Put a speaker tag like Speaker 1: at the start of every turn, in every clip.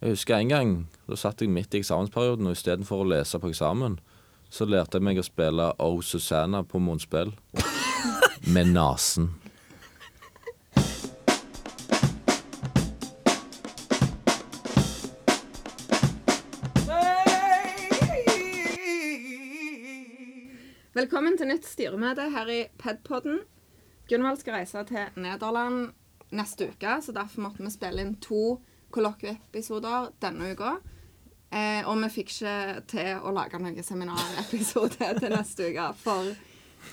Speaker 1: Jeg husker en gang, da satt jeg midt i eksamensperioden, og istedenfor å lese på eksamen, så lærte jeg meg å spille Oh Susanna på munnspill. Med nesen.
Speaker 2: Velkommen til nytt styremøte her i Pedpodden. Gunvald skal reise til Nederland neste uke, så derfor måtte vi spille inn to kollokvieepisoder denne uka. Eh, og vi fikk ikke til å lage noen seminarepisode til neste uke, for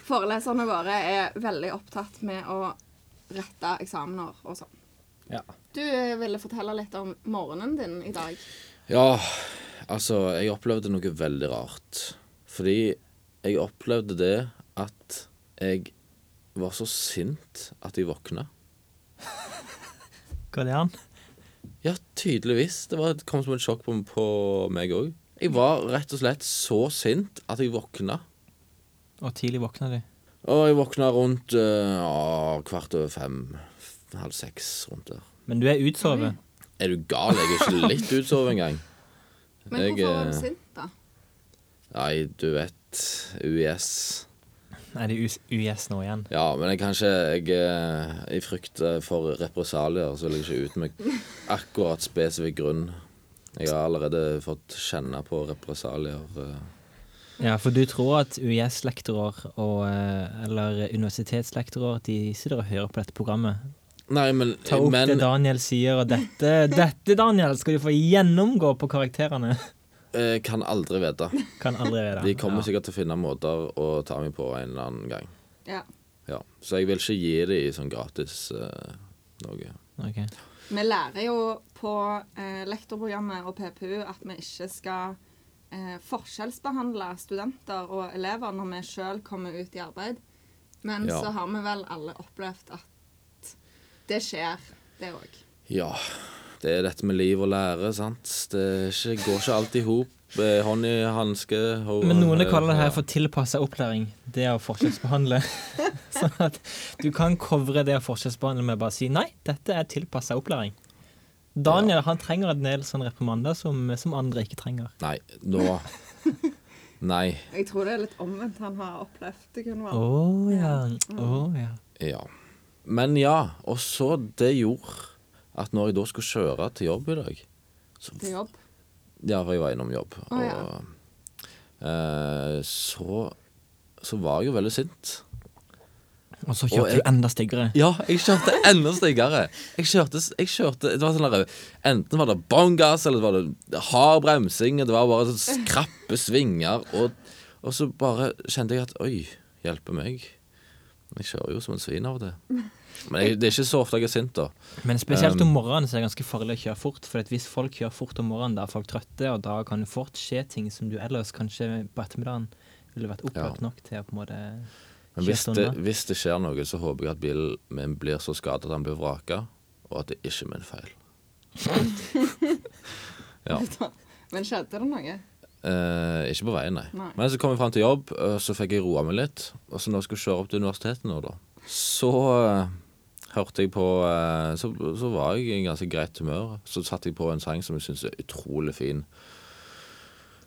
Speaker 2: foreleserne våre er veldig opptatt med å rette eksamener og sånn.
Speaker 1: Ja.
Speaker 2: Du eh, ville fortelle litt om morgenen din i dag.
Speaker 1: Ja, altså, jeg opplevde noe veldig rart. Fordi jeg opplevde det at jeg var så sint at jeg våkna.
Speaker 3: Går det an?
Speaker 1: Ja, tydeligvis. Det var, kom som et sjokk på, på meg òg. Jeg var rett og slett så sint at jeg våkna.
Speaker 3: Og tidlig våkna de.
Speaker 1: Og jeg våkna rundt eh, ja, kvart over fem, f- halv seks rundt der.
Speaker 3: Men du er utsovet.
Speaker 1: Er du gal? Jeg er ikke litt utsovet engang.
Speaker 2: Men
Speaker 1: Jeg,
Speaker 2: hvorfor var
Speaker 1: eh,
Speaker 2: du sint, da?
Speaker 1: Nei, du vet. UiS.
Speaker 3: Nei, det er US UiS nå igjen.
Speaker 1: Ja, men jeg kan ikke Jeg, eh, jeg frykter for represalier, så vil jeg ikke ut med akkurat spesifikk grunn. Jeg har allerede fått kjenne på represalier. eh.
Speaker 3: Ja, for du tror at UiS-lektorer og eh, eller universitetslektorer de sitter og hører på dette programmet.
Speaker 1: Nei, men,
Speaker 3: Ta opp
Speaker 1: men
Speaker 3: det Daniel sier, og dette, dette, Daniel, skal du få gjennomgå på karakterene.
Speaker 1: eh, kan aldri vite.
Speaker 3: Kan aldri være
Speaker 1: De
Speaker 3: det.
Speaker 1: kommer sikkert til å finne måter å ta meg på en eller annen gang.
Speaker 2: Ja.
Speaker 1: Ja, Så jeg vil ikke gi dem sånn gratis eh, noe.
Speaker 3: Ja, ok.
Speaker 2: Vi lærer jo på eh, lektorprogrammet og PPU at vi ikke skal eh, forskjellsbehandle studenter og elever når vi sjøl kommer ut i arbeid. Men
Speaker 1: Ja.
Speaker 2: så har vi vel alle opplevd at det skjer, det òg.
Speaker 1: Ja, det er dette med liv og lære, sant. Det er ikke, går ikke alltid i hop. Eh, Hånd i hanske. hår-
Speaker 3: Men noen kaller det her for tilpassa opplæring. Det å forskjellsbehandle. sånn at du kan covre det å forskjellsbehandle med å bare si nei, dette er tilpassa opplæring. Daniel han trenger en del sånne reprimander som, som andre ikke trenger.
Speaker 1: Nei, nå Nei.
Speaker 2: Jeg tror det er litt omvendt han har opplevd det,
Speaker 3: Å
Speaker 2: Gunvor.
Speaker 3: ja. å, ja.
Speaker 1: Ja. Men ja, og så det gjorde at når jeg da skulle kjøre til jobb i dag
Speaker 2: Til jobb.
Speaker 1: Ja, for jeg var innom jobb.
Speaker 2: Å, ja.
Speaker 1: Og eh, så Så var jeg jo veldig sint.
Speaker 3: Og så
Speaker 1: Og
Speaker 3: kjørte
Speaker 1: jeg-
Speaker 3: du enda styggere.
Speaker 1: Ja, jeg kjørte enda styggere. Jeg kjørte, jeg kjørte det var sånn der, Enten var det bånn gass, eller det var det hard bremsing. og Det var bare sånn krappe svinger. Og, og så bare kjente jeg at Oi, hjelpe meg. Jeg kjører jo som en svin av og til. Men jeg, det er ikke så ofte jeg er sint, da.
Speaker 3: Men spesielt
Speaker 1: Um,
Speaker 3: om morgenen så er det ganske farlig å kjøre fort. For at hvis folk kjører fort om morgenen, da er folk trøtte, og da kan det fort skje ting som du ellers kanskje på ettermiddagen ville vært opplagt nok til å på en måte
Speaker 1: Men hvis
Speaker 3: kjøre
Speaker 1: det,
Speaker 3: unna.
Speaker 1: hvis det skjer noe, så håper jeg at bilen min blir så skadet at han blir vraka, og at det ikke er min feil. ja.
Speaker 2: Men skjedde det noe?
Speaker 1: Eh, ikke på veien, nei.
Speaker 2: Nei.
Speaker 1: Men så kom jeg fram til jobb, eh, så fikk jeg roa meg litt. Og så når jeg skulle kjøre opp til universitetet nå, da, så eh, hørte jeg på eh, så, så var jeg i en ganske greit humør. Så satte jeg på en sang som jeg syns er utrolig fin.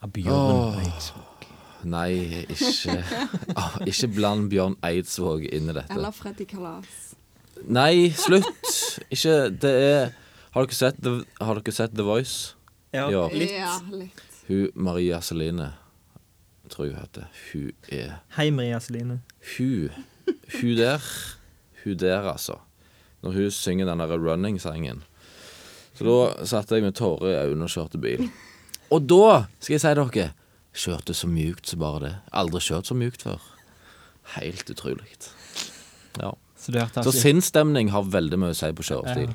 Speaker 3: Av Bjørn
Speaker 1: Åh.
Speaker 3: Eidsvåg.
Speaker 1: Nei, ikke ah, Ikke bland Bjørn Eidsvåg inn i dette.
Speaker 2: Eller Freddy Kalas?
Speaker 1: Nei, slutt! Ikke Det er Har dere sett The, har dere sett The Voice? Ja.
Speaker 3: Litt.
Speaker 2: Ja, litt.
Speaker 1: Hun Maria Celine, tror jeg hun heter. Hun er
Speaker 3: Hei, Maria Celine.
Speaker 1: Hun Hun der Hun der altså Når hun synger den der running-sangen Så da satt jeg med tårer i øynene og kjørte bil Og da, skal jeg si dere Kjørte så mjukt så bare det Aldri kjørt så mjukt før Helt utrolig ja.
Speaker 3: Så du hørte
Speaker 1: Så sinnstemning har veldig mye å si på kjørestil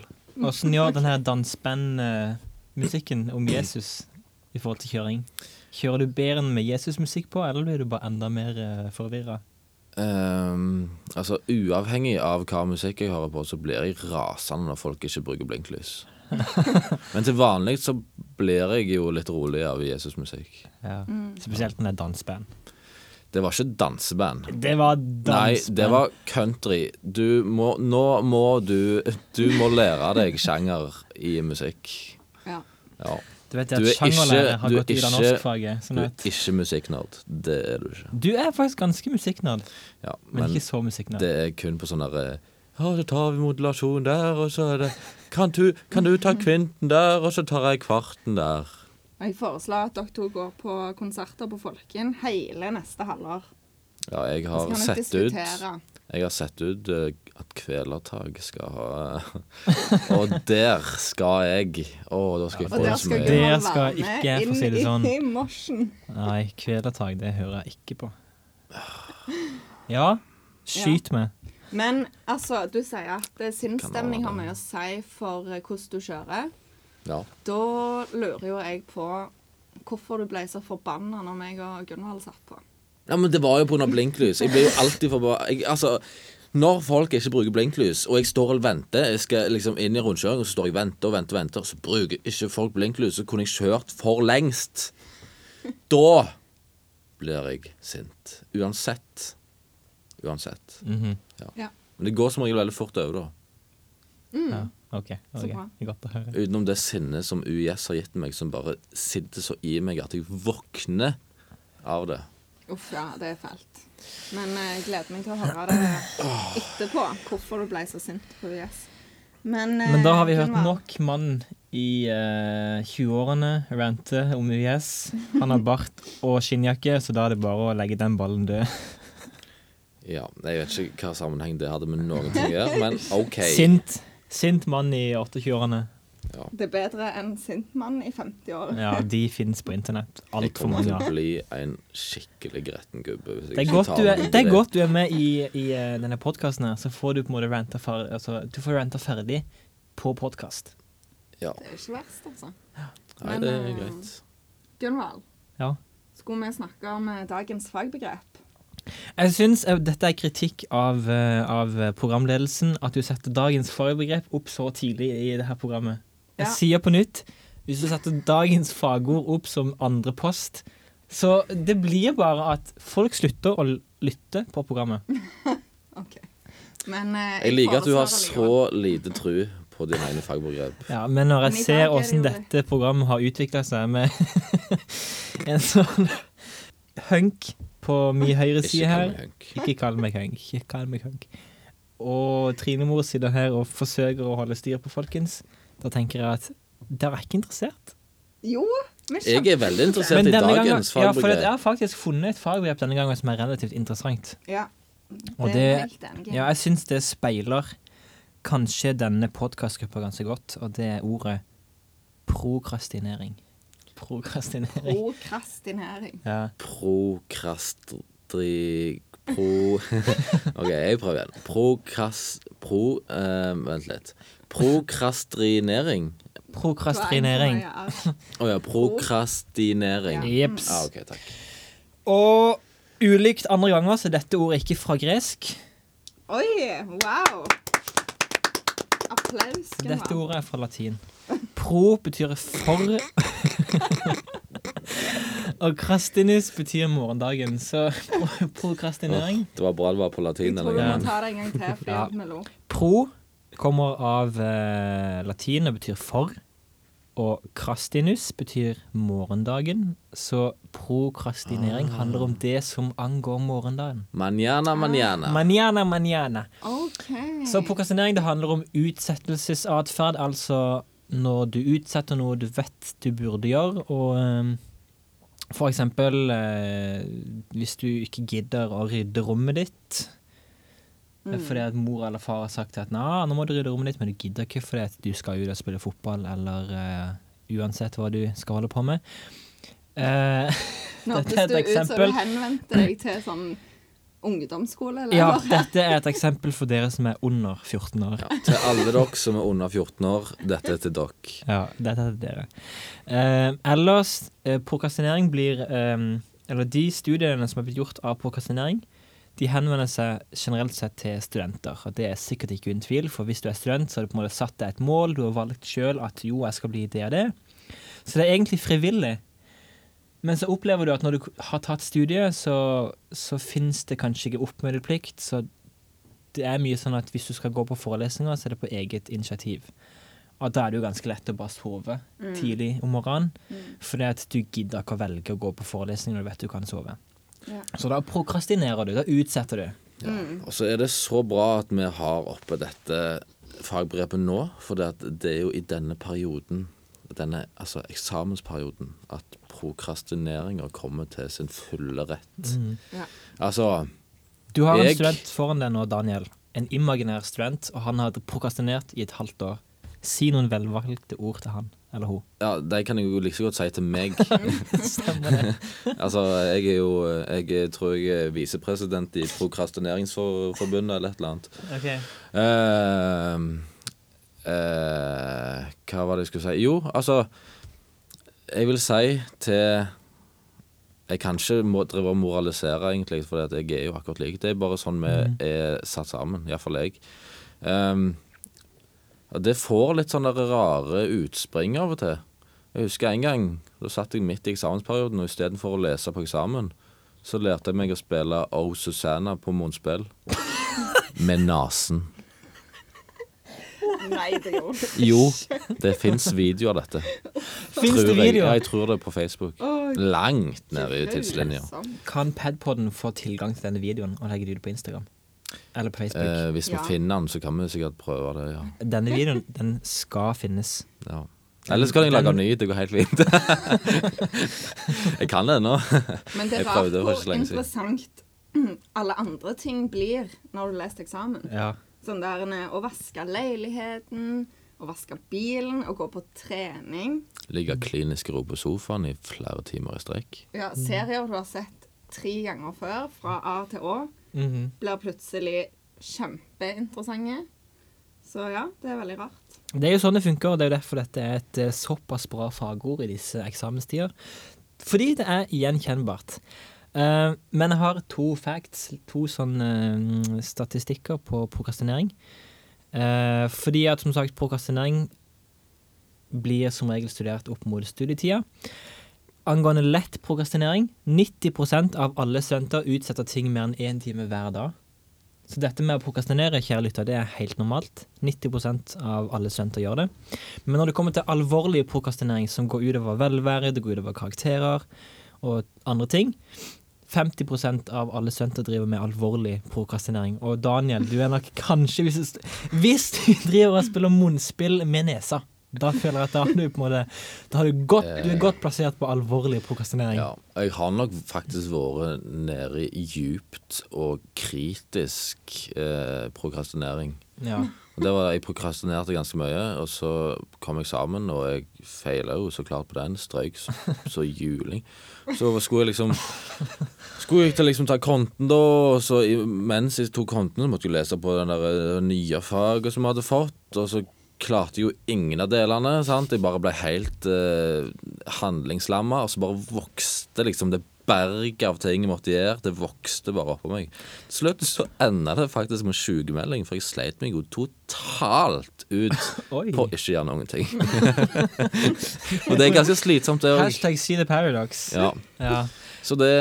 Speaker 3: Åssen gjør den her dansbandmusikken om Jesus i forhold til kjøring? Kjører du bedre enn med Jesus-musikk på, eller blir du bare enda mer uh, forvirra?
Speaker 1: Ehm, Altså uavhengig av hva musikk jeg hører på Så blir jeg rasende når folk ikke bruker blinklys Men til vanlig så blir jeg jo litt rolig av Jesus musikk
Speaker 3: Ja.
Speaker 2: Mm.
Speaker 3: Spesielt den der dansband.
Speaker 1: Det var ikke danseband.
Speaker 3: Det var
Speaker 1: Nei,
Speaker 3: dansband.
Speaker 1: det var country. Du må Nå må du Du må lære deg sjanger i musikk.
Speaker 2: Ja.
Speaker 1: Ja.
Speaker 3: Du vet det
Speaker 1: Du
Speaker 3: at
Speaker 1: er ikke-
Speaker 3: sjangerlærer har
Speaker 1: du er
Speaker 3: gått ut av
Speaker 1: ikke-
Speaker 3: norskfaget.
Speaker 1: Du
Speaker 3: Sånn
Speaker 1: er
Speaker 3: at
Speaker 1: ikke musikknerd. Det er du ikke.
Speaker 3: du er faktisk ganske musikknerd,
Speaker 1: Ja,
Speaker 3: men
Speaker 1: men
Speaker 3: ikke så musikknerd.
Speaker 1: det er kun på sånne der, Ja, så tar vi modulasjon der, og så er det Kan du, kan du ta kvinten der, og så tar jeg kvarten der.
Speaker 2: Og jeg foreslår at dere to går på konserter på Folken hele neste halvår.
Speaker 1: Ja, jeg
Speaker 2: Så
Speaker 1: har
Speaker 2: kan dere
Speaker 1: sett ut
Speaker 2: diskutere.
Speaker 1: Jeg har sett ut eh, at Kvelertak skal ha Og der skal jeg. Å, da skal jeg
Speaker 2: Og
Speaker 1: få
Speaker 2: der
Speaker 1: det så
Speaker 2: skal
Speaker 1: mye.
Speaker 2: Gunvor
Speaker 3: Gunnar Det skal
Speaker 2: være med
Speaker 3: ikke, for å si det
Speaker 2: inn
Speaker 3: sånn.
Speaker 2: i mosjen.
Speaker 3: Nei, kvelertak, det hører jeg ikke på.
Speaker 1: Ah.
Speaker 3: Ja, skyt meg.
Speaker 2: Men altså, du sier at eh, sinnsstemning har
Speaker 1: Kan
Speaker 2: mye å si for eh, hvordan du kjører.
Speaker 1: Ja.
Speaker 2: Da lurer jo jeg på hvorfor du ble så forbanna når meg og Gunvald satt på.
Speaker 1: Ja, men det var jo pga. blinklys. Jeg blir jo alltid forbanna Altså, når folk ikke bruker blinklys, og jeg står og venter Jeg skal liksom inn i rundkjøringen, og så står jeg og venter og venter, og venter, og så bruker ikke folk blinklys, så kunne jeg kjørt for lengst. Da blir jeg sint. Uansett. Uansett.
Speaker 3: Mhm.
Speaker 1: Men det går som regel veldig fort over, da.
Speaker 3: ja, OK.
Speaker 2: Mm. Så
Speaker 3: ok.
Speaker 2: bra.
Speaker 3: Det er Godt å høre.
Speaker 1: Utenom det sinnet som UiS har gitt meg, som bare sitter så i meg at jeg våkner av det.
Speaker 2: Uff, ja, det er fælt. Men eh, jeg gleder meg til å høre det etterpå, hvorfor du ble så sint på VS. Men, eh,
Speaker 3: Men da har vi hørt
Speaker 2: Gunvald,
Speaker 3: nok mann i eh, 20-årene rante om UiS. Han har bart og skinnjakke, så da er det bare å legge den ballen død.
Speaker 1: Ja, Jeg vet ikke hva sammenheng det hadde med noen ting å gjøre, men OK.
Speaker 3: Sint. Sint mann i 28-årene.
Speaker 2: Det er bedre enn sint mann i 50-året.
Speaker 3: Ja, de finnes på internett.
Speaker 1: Jeg
Speaker 3: Altfor
Speaker 1: kommer
Speaker 3: mange.
Speaker 1: til
Speaker 3: av.
Speaker 1: å bli en skikkelig gretten gubbe. Hvis jeg
Speaker 3: Det er
Speaker 1: ikke
Speaker 3: godt
Speaker 1: tar
Speaker 3: du
Speaker 1: meg
Speaker 3: er,
Speaker 1: inn i
Speaker 3: det er, godt du er med i, i eh, denne podkasten her, så får du på en måte ranta ferdig, altså, du får ranta ferdig på podkast.
Speaker 1: Ja.
Speaker 2: Det er ikke verst, altså.
Speaker 1: Nei,
Speaker 2: Men,
Speaker 1: det er
Speaker 2: eh,
Speaker 1: greit.
Speaker 2: Gunvald,
Speaker 3: Ja.
Speaker 2: skulle vi snakke om eh, dagens fagbegrep?
Speaker 3: Jeg syns eh, dette er kritikk av, eh, av programledelsen, at du setter dagens fagbegrep opp så tidlig i det her programmet. Jeg
Speaker 2: Ja.
Speaker 3: sier på nytt, hvis du setter dagens fagord opp som andre post, så det blir bare at folk slutter å l- lytte på programmet.
Speaker 2: OK. Men eh,
Speaker 1: Jeg liker at du har så
Speaker 2: foreslår
Speaker 1: lite tru på dine egne fagbegrep.
Speaker 3: Ja, men når
Speaker 2: Men
Speaker 3: jeg
Speaker 2: i dag er
Speaker 3: ser
Speaker 2: det
Speaker 3: åssen
Speaker 2: jo
Speaker 3: dette programmet har utvikla seg med en sånn hunk på min høyre
Speaker 1: Ikke
Speaker 3: side
Speaker 1: kall
Speaker 3: her
Speaker 1: meg hunk.
Speaker 3: Ikke kall meg hunk. Ikke kall meg hunk. Og Trine Mor sitter her og forsøker å holde styr på folkens. Da tenker jeg at dere er ikke interessert.
Speaker 2: likevel. Jo, vi
Speaker 1: Jeg er veldig interessert i
Speaker 3: denne gangen,
Speaker 1: dagens
Speaker 3: ja, for jeg
Speaker 1: fagbegrep.
Speaker 3: har faktisk funnet et fagbegrep denne gangen som er relativt interessant.
Speaker 2: Ja.
Speaker 3: Og
Speaker 2: det er jeg
Speaker 3: det-
Speaker 2: helt enig i.
Speaker 3: Ja, jeg syns det speiler kanskje denne podkastgruppa ganske godt, og det er ordet prokrastinering. Prokrastinering.
Speaker 2: Prokrastinering.
Speaker 3: Ja.
Speaker 1: Prokrastri... Pro... OK, jeg prøver igjen. Prokrast... Pro... eh, vent litt. Prokrastrinering?
Speaker 3: Prokrastinering.
Speaker 2: Hva er det som er-
Speaker 1: Å ja, prokrastinering. Ja,
Speaker 3: Jeps.
Speaker 1: OK, takk.
Speaker 3: Og ulikt andre ganger så er dette ordet ikke fra gresk.
Speaker 2: Oi, wow. Applaus. Gunvald.
Speaker 3: Dette ordet er fra latin. Pro betyr for. Og krastinis betyr morgendagen, så pro- prokrastinering
Speaker 1: Det var bra det var på
Speaker 2: Jeg
Speaker 1: latin.
Speaker 2: tror
Speaker 1: denne
Speaker 2: du må
Speaker 1: gangen.
Speaker 2: ta det en gang til, fordi
Speaker 3: Ja.
Speaker 2: at vi lo.
Speaker 3: Pro kommer av eh, latin og betyr for. Og krastinus betyr morgendagen, så prokrastinering handler om det som angår morgendagen.
Speaker 1: Manjana, manjana.
Speaker 3: Manjana, manjana.
Speaker 2: OK. Mm.
Speaker 3: Så prokrastinering det handler om utsettelsesatferd, altså når du utsetter noe du vet du burde gjøre, og eh, for eksempel eh, hvis du ikke gidder å rydde rommet ditt eh, fordi at mor eller far har sagt at Nei, nå må du rydde rommet ditt, men du gidder ikke fordi at du skal ut og spille fotball eller eh, uansett hva du skal holde på med. Eh,
Speaker 2: Nå
Speaker 3: dette
Speaker 2: høres du ut
Speaker 3: er et
Speaker 2: som
Speaker 3: eksempel.
Speaker 2: du henvendte deg til sånn ungdomsskole, eller?
Speaker 3: ja, dette er et eksempel for dere som er under 14 år.
Speaker 1: Ja, til alle dere som er under 14 år, dette er til dere.
Speaker 3: Ja, dette er til dere. Eh, ellers, eh, prokrastinering blir eh, Eller de studiene som er blitt gjort av prokrastinering, de henvender seg generelt sett til studenter. Og det er sikkert ikke uten tvil, for hvis du er student, så har du på en måte satt deg et mål, du har valgt sjøl at jo, jeg skal bli det og det. Så det er egentlig frivillig. Men så opplever du at når du k- har tatt studiet, så, så fins det kanskje ikke oppmøteplikt. Så det er mye sånn at hvis du skal gå på forelesninger, så er det på eget initiativ. at da er det jo ganske lett å bare sove tidlig om morgenen. Fordi at du gidder ikke å velge å gå på forelesning når du vet du kan sove.
Speaker 2: Ja.
Speaker 3: Så da prokrastinerer du. Da utsetter du.
Speaker 1: Ja.
Speaker 3: Mm.
Speaker 1: Og så er det så bra at vi har oppe dette fagbrevet nå, for det, at det er jo i denne perioden, denne altså eksamensperioden, at prokrastineringa kommer til sin fulle rett.
Speaker 3: Mm.
Speaker 2: Ja.
Speaker 1: Altså
Speaker 3: Du har en
Speaker 1: Jeg-
Speaker 3: student foran deg nå, Daniel. En imaginær student, og han har prokrastinert i et halvt år. Si noen velvalgte ord til han eller hun.
Speaker 1: Ja, de kan jeg jo like så godt si til meg.
Speaker 3: Stemmer det.
Speaker 1: Altså, jeg er jo Jeg tror jeg er visepresident i Prokrastineringsforbundet eller et eller annet. eh, eh, hva var det jeg skulle si? Jo, altså Jeg vil si til Jeg kan ikke må, drive og moralisere, egentlig, for jeg er jo akkurat lik. Det er bare sånn vi er satt sammen, iallfall jeg. Ehm, og det får litt sånne rare utspring av og til. Jeg husker en gang, da satt jeg midt i eksamensperioden, og istedenfor å lese på eksamen, så lærte jeg meg å spille Oh Susanna på munnspill. Med nesen.
Speaker 2: Nei, det gjorde du ikke.
Speaker 1: Jo, det fins video av dette.
Speaker 3: Fins det
Speaker 1: Tror jeg. Ja,
Speaker 3: videoer?
Speaker 1: jeg tror det er på Facebook.
Speaker 2: Å,
Speaker 1: Langt nede i tidslinja.
Speaker 2: Sånn.
Speaker 3: Kan Padpodden få tilgang til denne videoen og legge det ut på Instagram? Eller på Facebook?
Speaker 1: Eh, hvis vi
Speaker 2: Ja.
Speaker 1: finner den, så kan vi sikkert prøve det. ja,
Speaker 3: Denne videoen den skal finnes.
Speaker 1: ja. Eller så kan jeg lage en ny. Det går helt fint. jeg kan det ennå.
Speaker 2: Men det
Speaker 1: Jeg
Speaker 2: er
Speaker 1: prøvde for ikke så
Speaker 2: rart hvor
Speaker 1: lenge siden.
Speaker 2: interessant alle andre ting blir når du har lest eksamen.
Speaker 3: Ja.
Speaker 2: Sånn der eh, å vaske leiligheten, å vaske bilen, å gå på trening.
Speaker 1: Ligger klinisk ro på sofaen i flere timer i strekk.
Speaker 2: Ja, serier du har sett tre ganger før, fra A til Å,
Speaker 3: Mhm.
Speaker 2: blir plutselig kjempeinteressante. Så ja, det er veldig rart.
Speaker 3: Det er jo sånn det funker, og det er jo derfor dette er et eh, såpass bra fagord i disse eksamenstider. Fordi det er gjenkjennbart. Eh, men jeg har to facts, to sånne mm, statistikker på prokrastinering. Eh, fordi at som sagt, prokrastinering blir som regel studert opp mot studietida. Angående lett prokrastinering, 90 av alle studenter utsetter ting mer enn én time hver dag. Så dette med å prokrastinere, kjære lytter, det er helt normalt. 90 av alle studenter gjør det. Men når det kommer til alvorlig prokrastinering som går utover velvære, det går utover karakterer og andre ting 50 av alle studenter driver med alvorlig prokrastinering. Og Daniel, du er nok kanskje Hvis du, st- hvis du driver og spiller munnspill med nesa, da føler jeg at da har du på en måte Da har du godt, du er godt plassert på alvorlig prokrastinering.
Speaker 1: Ja, jeg har nok faktisk vært nede i djupt og kritisk eh, prokrastinering.
Speaker 3: Ja.
Speaker 1: Og det var Jeg prokrastinerte ganske mye, og så kom jeg sammen, og jeg feila jo så klart på den. Strøyk så, så juling. Så skulle jeg liksom Skulle jeg til liksom ta konten, da, og så i- mens jeg tok konten, så måtte jeg lese på den der eh, nye faget som jeg hadde fått, og så klarte jeg jo ingen av delene. sant? Jeg bare ble helt eh, handlingslamma, og så bare vokste liksom det berget av ting jeg måtte gjøre. Det vokste bare oppå meg. Til slutt så enda det faktisk med sykemelding, for jeg sleit meg jo totalt ut
Speaker 3: Oi.
Speaker 1: på ikke gjøre noen ting. og det er ganske slitsomt, det òg.
Speaker 3: Hashtag see the paradox.
Speaker 1: Ja.
Speaker 3: Ja.
Speaker 1: Så det,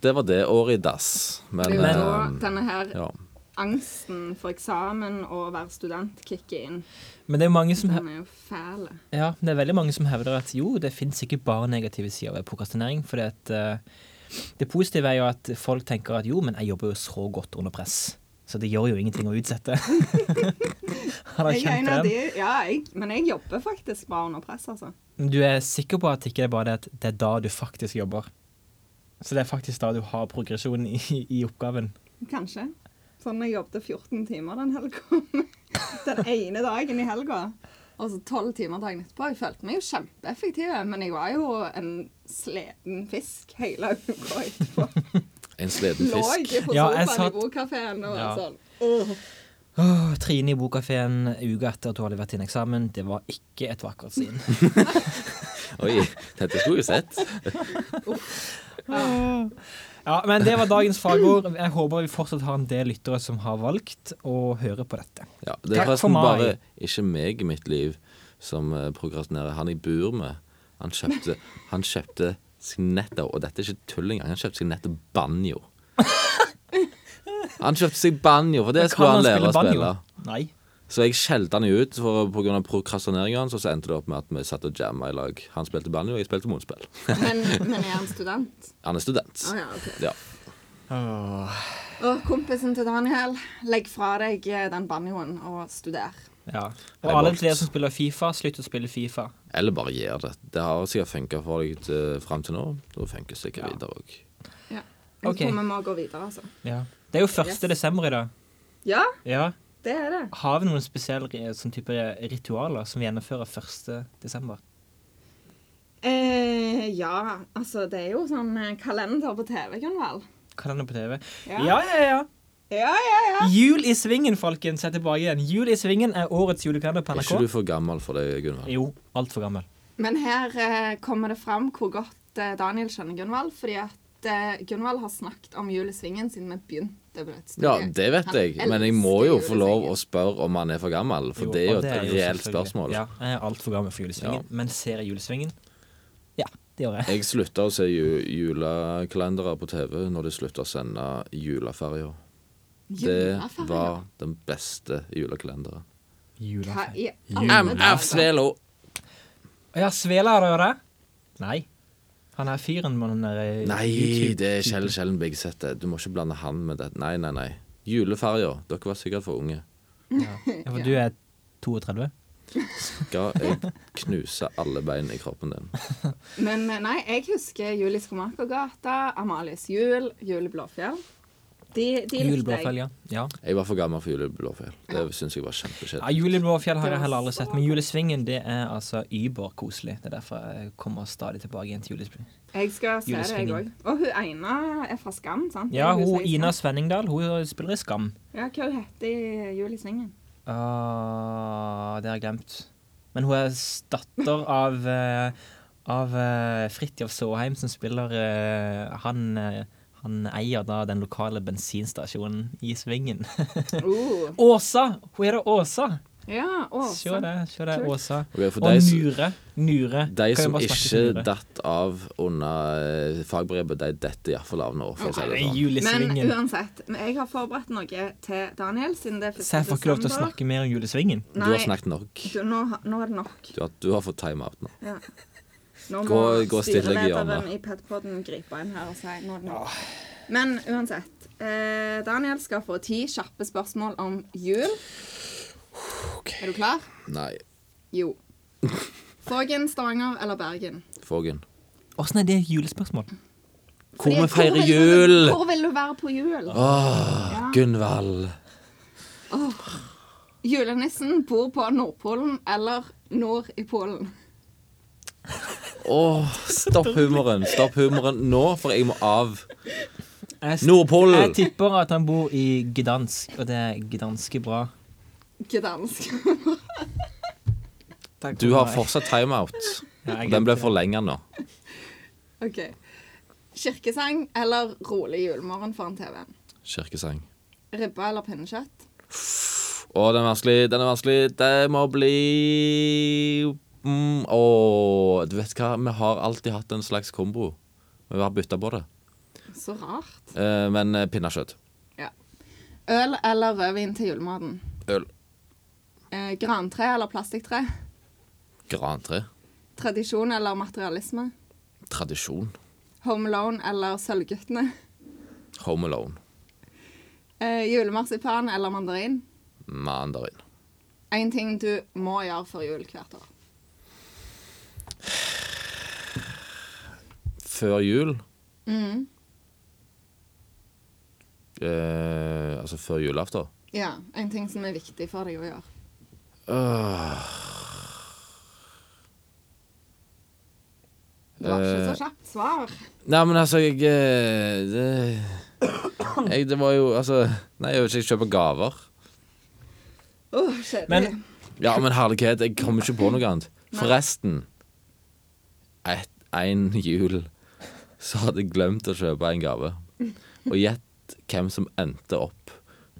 Speaker 1: det var det året i dass. Men,
Speaker 2: Det er jo da
Speaker 1: eh,
Speaker 2: denne her
Speaker 1: ja.
Speaker 2: angsten for eksamen og å være student kicker inn.
Speaker 3: Men det er mange som
Speaker 2: Den er jo fæl.
Speaker 3: Ja, det er veldig mange som hevder at jo, det fins ikke bare negative sider ved prokrastinering. For det positive er jo at folk tenker at jo, men jeg jobber jo så godt under press. Så det gjør jo ingenting å utsette. Har dere
Speaker 2: Jeg er en
Speaker 3: kjent på
Speaker 2: av de,
Speaker 3: den?
Speaker 2: ja, jeg, men jeg jobber faktisk bra under press, altså.
Speaker 3: Du er sikker på at det ikke er bare det at det er da du faktisk jobber. Så det er faktisk da du har progresjon i, i oppgaven.
Speaker 2: Kanskje. Sånn jeg jobbet 14 timer den helga. Den ene dagen i helga. Og så 12 timer dagen etterpå. Jeg følte meg jo kjempeeffektiv, men jeg var jo en sliten fisk hele uka etterpå.
Speaker 1: En sliten
Speaker 2: Lå
Speaker 1: fisk.
Speaker 2: jeg på sofaen
Speaker 3: Ja, jeg satt-
Speaker 2: i bokkafeen og
Speaker 3: Ja.
Speaker 2: sånn.
Speaker 3: Åh, Trine i bokkafeen uka etter at hun hadde vært i en eksamen, det var ikke et vakkert syn.
Speaker 1: Oi, dette skulle jeg sett.
Speaker 3: Ja, men det var dagens fagord. Jeg håper vi fortsatt har en del lyttere som har valgt å høre på dette.
Speaker 1: Ja, det er
Speaker 3: Takk for
Speaker 1: forresten
Speaker 3: meg.
Speaker 1: bare ikke meg i mitt liv som eh, prokrastinerer. Han jeg bor med, han kjøpte, han kjøpte seg nettopp Og dette er ikke tull engang. Han kjøpte seg nettopp banjo. Han kjøpte seg banjo, for det
Speaker 3: Men
Speaker 1: skulle
Speaker 3: kan
Speaker 1: han lære å
Speaker 3: banjo?
Speaker 1: spille.
Speaker 3: Nei.
Speaker 1: Så jeg skjelte han jo ut for, på grunn av prokrastineringen hans, og så endte det opp med at vi satt og jamma i lag. Han spilte banjo, og jeg spilte motspill.
Speaker 2: Men, men er han student?
Speaker 1: Han er student.
Speaker 2: Å ja, ok.
Speaker 1: Ja.
Speaker 2: Og kompisen til Daniel, legg fra deg eh, den banjoen og studer.
Speaker 3: Ja. Og
Speaker 1: Nei,
Speaker 3: alle
Speaker 1: valgt.
Speaker 3: dere som spiller Fifa, slutt å spille Fifa.
Speaker 1: Eller bare gjør det. Det har sikkert funka for deg til, fram til nå. Da funker det sikkert
Speaker 3: Ja.
Speaker 1: videre òg.
Speaker 2: Ja. Jeg
Speaker 3: Ok.
Speaker 2: tror vi må gå videre, altså.
Speaker 3: Ja. Det er jo 1.
Speaker 2: Yes.
Speaker 3: desember i dag.
Speaker 2: Ja,
Speaker 3: Ja.
Speaker 2: det er det.
Speaker 3: Har vi noen spesielle ri- sånn type ritualer som vi gjennomfører 1. desember?
Speaker 2: Eh, ja, altså det er jo sånn eh, kalender på TV, Gunvald.
Speaker 3: Hva er det på TV?
Speaker 2: Ja.
Speaker 3: Ja, ja, ja.
Speaker 2: Ja, ja, ja.
Speaker 3: Jul i svingen, folkens. Se tilbake igjen. Jul i svingen er årets julekalender på
Speaker 1: Er
Speaker 3: NRK.
Speaker 1: ikke du for gammel for det, Gunvald?
Speaker 3: Jo, altfor gammel.
Speaker 2: Men her eh, kommer det fram hvor godt eh, Daniel skjønner Gunvald, fordi at eh, Gunvald har snakket om Jul i svingen siden vi begynte på dette
Speaker 1: Ja,
Speaker 2: studiet.
Speaker 1: det vet
Speaker 2: Han
Speaker 1: jeg, men jeg må
Speaker 2: elsker
Speaker 1: jo
Speaker 2: Jul i
Speaker 1: få lov
Speaker 2: Svingen.
Speaker 1: å spørre om han er for gammel, for det er jo
Speaker 3: og
Speaker 1: et reelt
Speaker 3: selvfølgelig-
Speaker 1: spørsmål.
Speaker 3: Ja, jeg er altfor gammel for julesvingen,
Speaker 1: Ja.
Speaker 3: men ser jeg julesvingen? Ja, det gjør jeg.
Speaker 1: Jeg slutta å se ju julekalendere på TV når de slutta å sende juleferja. Det
Speaker 2: Juleferie.
Speaker 1: var den beste julekalenderen.
Speaker 2: Hva
Speaker 3: Juleferie.
Speaker 2: i alle
Speaker 1: MF
Speaker 2: dager?
Speaker 1: Svelo!
Speaker 3: Å Ja, Svele har det vært? Nei. Han er fyren med den der eh,
Speaker 1: Nei, det er Kjell Kjellen Bigseth. Du må ikke blande han med det. Nei, nei, nei. Juleferja. Dere var sikkert for unge.
Speaker 3: Ja, for du er 32?
Speaker 1: Skal jeg knuse alle bein i kroppen din?
Speaker 2: Men eh, nei, jeg husker Jul i Skomakergata, Amalies jul, Jul i Blåfjell. De, de likte
Speaker 3: Juleblåfjell,
Speaker 2: jeg.
Speaker 3: ja. ja.
Speaker 1: Jeg var for gammel for juleblåfjell. Det syns jeg var
Speaker 3: ja
Speaker 1: kjempekjedelig.
Speaker 3: Juleblåfjell har jeg heller aldri sett, men Julesvingen det er altså überkoselig. Det er derfor jeg kommer stadig tilbake igjen til julesvingen.
Speaker 2: Jeg skal se det, jeg òg.
Speaker 3: Julesvingen.
Speaker 2: Og hun Eina er fra Skam, sant?
Speaker 3: Ja,
Speaker 2: Det er
Speaker 3: hun
Speaker 2: som-
Speaker 3: Ina Svenningdal hun spiller i Skam.
Speaker 2: Ja, hva hun heter i Jul i svingen?
Speaker 3: Ah, det har jeg glemt. Men hun er s- datter av eh, Av eh, Fridtjof Saaheim, som spiller eh, Han eh, han eier da den lokale bensinstasjonen i Svingen.
Speaker 2: Oh.
Speaker 3: Åsa! Hun er da Åsa!
Speaker 2: Ja,
Speaker 3: Se
Speaker 2: Åsa.
Speaker 3: det, se det,
Speaker 2: Kult.
Speaker 3: Åsa.
Speaker 1: Ok, for
Speaker 3: Og
Speaker 1: de som-
Speaker 3: Nure. Nure. Kan
Speaker 1: De
Speaker 3: jo
Speaker 1: som
Speaker 3: bare snakke til
Speaker 1: ikke
Speaker 3: Nure.
Speaker 1: datt av under eh, fagbrevet, de detter iallfall av nå, for å si det
Speaker 3: Nei,
Speaker 1: sånn.
Speaker 3: Jul i
Speaker 2: Men
Speaker 3: Svingen.
Speaker 2: uansett, men jeg har forberedt noe til Daniel siden det er 1.
Speaker 3: Så jeg får ikke lov til å snakke mer om Jul i Svingen.
Speaker 1: Du har snakket nok.
Speaker 2: Du, nå, har- nå er det nok.
Speaker 1: Du har, du har fått timeout nå.
Speaker 2: Ja. Nå må
Speaker 1: Gå- gå stille i
Speaker 2: styrelederen
Speaker 1: hjørnet.
Speaker 2: i Petpodden gripe inn her og si nå er det nok. Men uansett. Eh, Daniel skal få ti kjappe spørsmål om jul. Er du klar?
Speaker 1: Nei.
Speaker 2: Jo. Fågen, Stavanger eller Bergen?
Speaker 1: Fågen.
Speaker 3: Åssen er det julespørsmål?
Speaker 1: Hvor vi
Speaker 2: Fordi-
Speaker 3: liksom
Speaker 1: feirer
Speaker 2: vil du-
Speaker 1: jul!
Speaker 2: Hvor vil du være på jul? Ja.
Speaker 1: Gunvald.
Speaker 2: Julenissen bor på Nordpolen eller nord i Polen.
Speaker 1: Å, stopp humoren. Stopp humoren nå, for jeg må av.
Speaker 3: Jeg, s- jeg
Speaker 1: Nordpolen!
Speaker 3: tipper at han bor i Gdansk, og det er gdanske bra.
Speaker 2: Gdansk.
Speaker 1: Du har fortsatt timeout.
Speaker 3: Ja, jeg
Speaker 1: Og Den ble
Speaker 3: glemte det.
Speaker 1: forlenga nå.
Speaker 2: OK. Kirkesang eller rolig julemorgen foran TV-en?
Speaker 1: Kirkesang.
Speaker 2: Ribbe eller pinnekjøtt?
Speaker 1: Å, den er vanskelig. Den er vanskelig. Det må bli mm, Å, du vet hva? Vi har alltid hatt en slags kombo. Vi har bytta på det.
Speaker 2: Så rart.
Speaker 1: Eh, Men eh, pinnekjøtt.
Speaker 2: Ja. Øl eller rødvin til julematen?
Speaker 1: Øl.
Speaker 2: Eh, grantre eller plastikktre?
Speaker 1: Grantre.
Speaker 2: Tradisjon eller materialisme?
Speaker 1: Tradisjon.
Speaker 2: Home Alone eller Sølvguttene?
Speaker 1: Home alone.
Speaker 2: Eh, julemarsipan eller mandarin?
Speaker 1: Mandarin.
Speaker 2: Én ting du må gjøre før jul hvert år.
Speaker 1: Før jul
Speaker 2: Mhm.
Speaker 1: eh, Altså før julaften.
Speaker 2: Ja, en ting som er viktig for deg å gjøre. Det var ikke så kjapt svar.
Speaker 1: Nei, men altså, jeg eh, det, jeg det var jo Altså Nei, jeg vil ikke kjøpe gaver.
Speaker 2: Åh, kjedelig.
Speaker 3: Men-
Speaker 1: Ja, men herlighet, jeg kommer ikke på noe annet. Forresten et, En jul så hadde jeg glemt å kjøpe en gave. Og gjett hvem som endte opp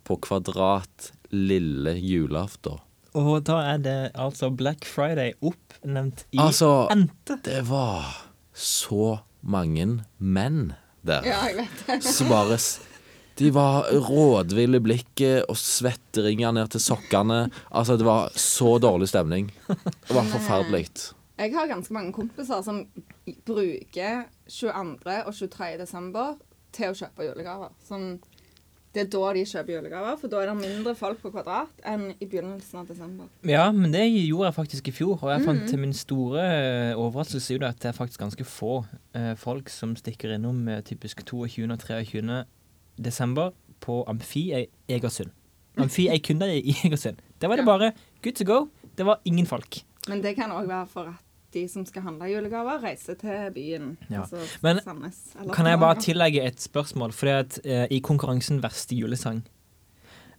Speaker 1: på Kvadrat lille julaften.
Speaker 3: Og da er det altså Black Friday oppnevnt i
Speaker 1: Altså-
Speaker 3: ente.
Speaker 1: Det var så mange menn der
Speaker 2: ja, jeg vet det.
Speaker 1: som bare s- De var rådville i blikket og svetteringer ned til sokkene. Altså, det var så dårlig stemning. Det var forferdelig.
Speaker 2: Jeg har ganske mange kompiser som i- bruker 22. og 23. desember til å kjøpe julegaver. Sånn, det er da de kjøper julegaver, for da er det mindre folk på kvadrat enn i begynnelsen av desember.
Speaker 3: Ja, men det gjorde jeg faktisk i fjor, og jeg fant til min store eh, overraskelse ut at det er faktisk ganske få eh, folk som stikker innom eh, typisk 22. og 23. desember på Amfi i Egersund. Amfi er kun der i Egersund. Der var det
Speaker 2: Ja.
Speaker 3: bare good to go. Det var ingen folk.
Speaker 2: Men det kan òg være for at de som skal handle julegaver, reiser til byen.
Speaker 3: Ja.
Speaker 2: Altså
Speaker 3: Men
Speaker 2: Sandnes. eller
Speaker 3: Kan jeg bare
Speaker 2: Stavanger.
Speaker 3: tillegge et spørsmål? Fordi at eh, i konkurransen Verste julesang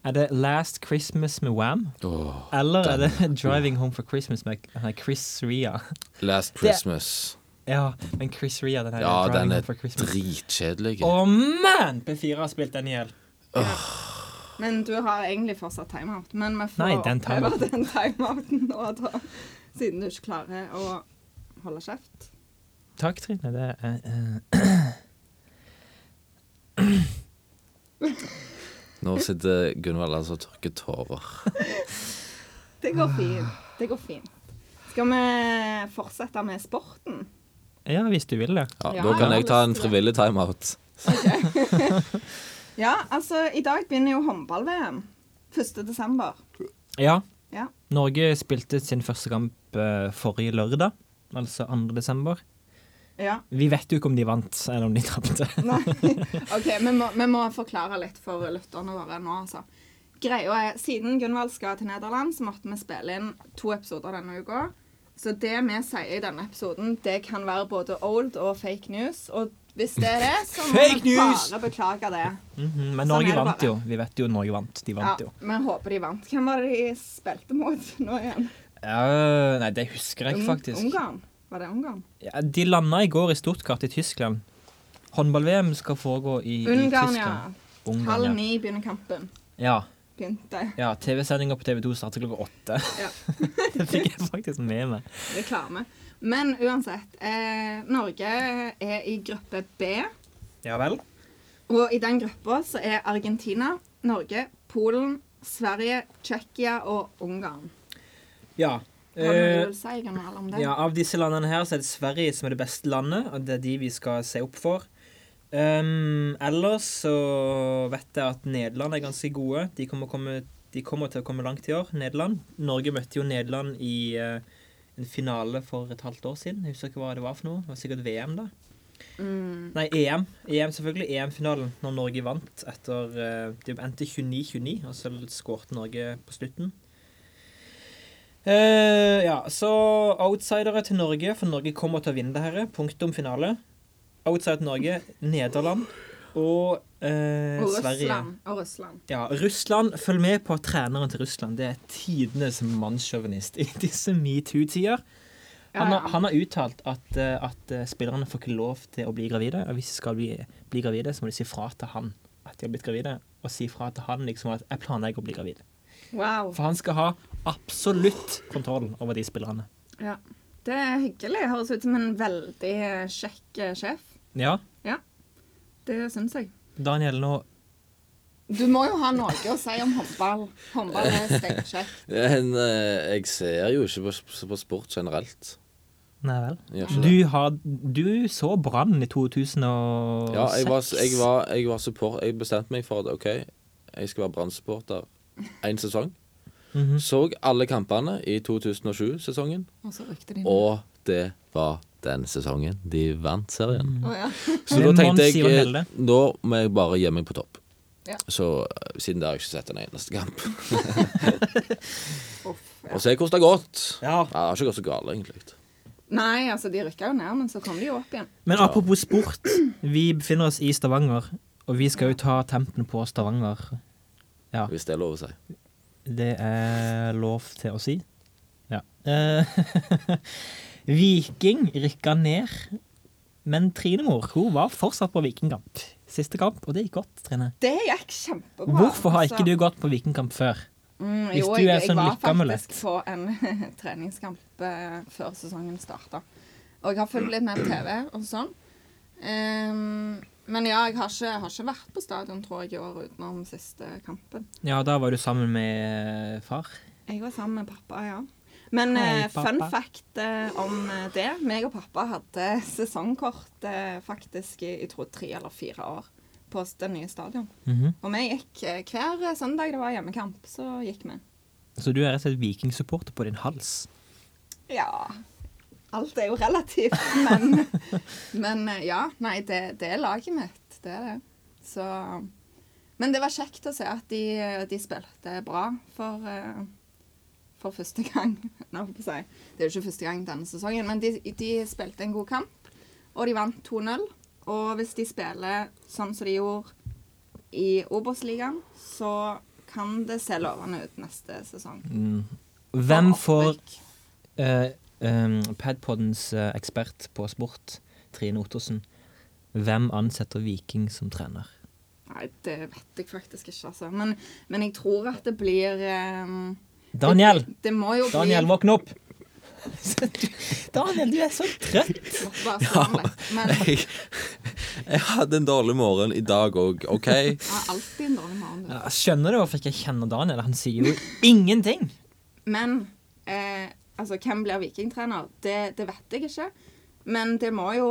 Speaker 3: er det Last Christmas med Wham?
Speaker 1: Åh.
Speaker 3: Eller er det Driving Home for Christmas med han er Chris Ria?
Speaker 1: Last Christmas.
Speaker 3: Ja, men Chris Ria, den her
Speaker 1: Ja,
Speaker 3: Driving
Speaker 1: den
Speaker 3: Home
Speaker 1: er
Speaker 3: for Christmas.
Speaker 1: dritkjedelig.
Speaker 3: Å, man! P4 har spilt den i hjel.
Speaker 2: Men du har egentlig fortsatt timeout. Men vi får
Speaker 3: Nei, den
Speaker 2: oppleve
Speaker 3: timeouten.
Speaker 2: den timeouten nå, da. Siden du ikke klarer å holde kjeft.
Speaker 3: Takk, Trine. Det er eh,
Speaker 1: Nå sitter Gunvald altså og tørker tårer.
Speaker 2: Det går fint. Det går fint. Skal vi fortsette med sporten?
Speaker 3: eh, Ja, hvis du vil det.
Speaker 1: Ja,
Speaker 2: Ja,
Speaker 1: da kan
Speaker 2: ja.
Speaker 1: jeg ta en frivillig timeout.
Speaker 2: Ja, altså, i dag begynner jo håndball-VM. 1. desember.
Speaker 3: Ja.
Speaker 2: Ja.
Speaker 3: Norge spilte sin første kamp eh, forrige lørdag, altså 2. desember.
Speaker 2: Ja.
Speaker 3: Vi vet jo ikke om de vant, eller om de tapte.
Speaker 2: Nei. OK, vi må, vi må forklare litt for lytterne våre nå, altså. Greia er, siden Gunvald skal til Nederland, så måtte vi spille inn to episoder denne uka. Så det vi sier i denne episoden, det kan være både old og fake news. Og hvis det er det, så må
Speaker 3: Fake
Speaker 2: vi
Speaker 3: news!
Speaker 2: bare beklage det.
Speaker 3: Mhm, Men
Speaker 2: Sånn er
Speaker 3: Norge
Speaker 2: det
Speaker 3: vant
Speaker 2: bare.
Speaker 3: jo. Vi vet jo Norge vant. De
Speaker 2: Ja,
Speaker 3: vant jo.
Speaker 2: Vi håper de vant. Hvem var det de spilte mot nå igjen?
Speaker 3: Ja, nei, det husker jeg ikke,
Speaker 2: Ung-
Speaker 3: faktisk.
Speaker 2: Ungarn? Var det Ungarn?
Speaker 3: Ja, de landa i går i Stuttgart i Tyskland. Håndball-VM skal foregå i, i
Speaker 2: Ungarn, ja.
Speaker 3: Tyskland. Ungarn,
Speaker 2: Halv
Speaker 3: ja.
Speaker 2: ni begynner kampen.
Speaker 3: Ja,
Speaker 2: Begynte.
Speaker 3: ja TV-sendinga på TV2 starter klokka åtte.
Speaker 2: Ja.
Speaker 3: det fikk jeg faktisk med meg.
Speaker 2: reklame. Men uansett, eh, Norge er i gruppe B,
Speaker 3: Ja vel?
Speaker 2: og i den gruppa så er Argentina, Norge, Polen, Sverige, Tsjekkia og Ungarn.
Speaker 3: Ja.
Speaker 2: Hva
Speaker 3: eh,
Speaker 2: vil du si Gunvald, om det?
Speaker 3: Ja, Av disse landene her så er det Sverige som er det beste landet, og det er de vi skal se opp for. Ehm, ellers så vet jeg at Nederland er ganske gode. De kommer, komme, de kommer til å komme langt i år, Nederland. Norge møtte jo Nederland i eh, en finale for et halvt år siden. Jeg husker ikke hva det var for noe. Det var sikkert VM, da.
Speaker 2: Mm,
Speaker 3: Nei, EM. EM selvfølgelig. EM-finalen, når Norge vant etter eh, Det endte 29-29, og så skårte Norge på slutten. Eh, ja, så outsidere til Norge, for Norge kommer til å vinne det her. Punktum finale. Outsider til Norge, Nederland og eh,
Speaker 2: og
Speaker 3: Sverige.
Speaker 2: Russland. Og Russland.
Speaker 3: Ja, Russland, følg med på treneren til Russland. Det er tidenes mannssjåvinist i disse metoo-tider.
Speaker 2: Ja,
Speaker 3: Han, har-
Speaker 2: ja.
Speaker 3: han har uttalt at, eh, at eh, spillerne får ikke lov til å bli gravide. Og hvis de skal bli, bli gravide, så må de si fra til han at de har blitt gravide. Og si fra til han liksom at 'jeg planlegger å bli gravid'.
Speaker 2: Wow.
Speaker 3: For han skal ha absolutt kontroll over de spillerne.
Speaker 2: Ja. Det er hyggelig. Høres ut som en veldig eh, kjekk eh, sjef.
Speaker 3: Ja,
Speaker 2: Det syns jeg.
Speaker 3: Daniel, nå
Speaker 2: Du må jo ha noe å si om håndball. Håndball er steinkjekt.
Speaker 1: Men eh, jeg ser jo ikke på, på sport generelt.
Speaker 3: Nei vel.
Speaker 1: Jeg gjør ikke det.
Speaker 3: Du, har, du så Brann i 2006.
Speaker 1: Ja, jeg var, jeg var, jeg var support Jeg bestemte meg for at OK, jeg skal være Brann-supporter én sesong.
Speaker 3: Mhm.
Speaker 1: Så alle kampene i 2007-sesongen,
Speaker 2: Og så rykte de ned.
Speaker 1: og det var den sesongen de vant serien.
Speaker 3: Mm.
Speaker 2: Å, ja.
Speaker 1: Så da
Speaker 3: Men
Speaker 1: tenkte
Speaker 3: Mons
Speaker 1: jeg
Speaker 3: Jon
Speaker 1: eh,
Speaker 3: Helle?
Speaker 1: Nå må jeg bare gjemme meg på topp.
Speaker 2: Ja.
Speaker 1: Så eh, siden der har jeg ikke sett en eneste kamp.
Speaker 2: Uff, ja.
Speaker 1: Og se hvordan det har gått.
Speaker 3: Ja.
Speaker 1: Ja, Det har ikke gått så galt, egentlig.
Speaker 2: Nei, altså de rykka jo ned, men så kom de jo opp igjen.
Speaker 3: Men apropos sport. Vi befinner oss i Stavanger, og vi skal jo ta tempen på Stavanger.
Speaker 1: Hvis det er lov å si.
Speaker 3: Det er lov til å si. Ja. Eh, Viking rykka ned, men Trinemor hun var fortsatt på Vikingkamp. Siste kamp, og det gikk godt, Trine.
Speaker 2: Det gikk kjempebra.
Speaker 3: Hvorfor har ikke
Speaker 2: altså.
Speaker 3: du gått på Vikingkamp før?
Speaker 2: Mm,
Speaker 3: Hvis
Speaker 2: jo,
Speaker 3: du er
Speaker 2: jeg, jeg
Speaker 3: sånn
Speaker 2: var
Speaker 3: lykkeamulett?
Speaker 2: faktisk på en treningskamp eh, før sesongen starta. Og jeg har fulgt litt med på TV og sånn. Ehm, Men ja, jeg har ikke, jeg har ikke vært på stadion, tror jeg, i år utenom siste kampen.
Speaker 3: Ja, da var du sammen med eh, far.
Speaker 2: Jeg var sammen med pappa, ja. Men
Speaker 3: Hei,
Speaker 2: eh, fun
Speaker 3: pappa.
Speaker 2: fact eh, om eh, det. meg og pappa hadde sesongkort eh, faktisk i jeg tror tre eller fire år på s- det nye stadion.
Speaker 3: Mhm.
Speaker 2: Og vi gikk eh, hver søndag det var hjemmekamp, så gikk vi.
Speaker 3: Så du er rett og slett vikingsupporter på din hals.
Speaker 2: Ja Alt er jo relativt, men, men eh, ja. Nei, det, det er laget mitt. Det er det. Så Men det var kjekt å se at de, de spilte bra for, eh, for første gang. Nei, holdt på å si. Det er jo ikke første gang denne sesongen, men de, de spilte en god kamp, og de vant 2-0. Og hvis de spiller sånn som de gjorde i Obos-ligaen, så kan det se lovende ut neste sesong.
Speaker 3: Hvem
Speaker 2: For
Speaker 3: får
Speaker 2: opprykk.
Speaker 3: eh, em, Padpoddens eh, ekspert på sport, Trine Ottersen, hvem ansetter Viking som trener?
Speaker 2: Nei, det vet jeg faktisk ikke, altså. Men, men jeg tror at det blir ehm,
Speaker 3: Daniel!
Speaker 2: Det, det må jo
Speaker 3: Daniel,
Speaker 2: bli
Speaker 3: våkne opp! Daniel, du er så trøtt!
Speaker 2: Bare sånn lett. Men jeg
Speaker 1: Jeg, jeg hadde en dårlig morgen i dag òg, OK?
Speaker 2: har alltid en dårlig morgen. du.
Speaker 3: Ja, skjønner du hvorfor jeg ikke kjenner Daniel? Han sier jo ingenting.
Speaker 2: Men eh, altså, hvem blir vikingtrener? Det, det vet jeg ikke. Men det må jo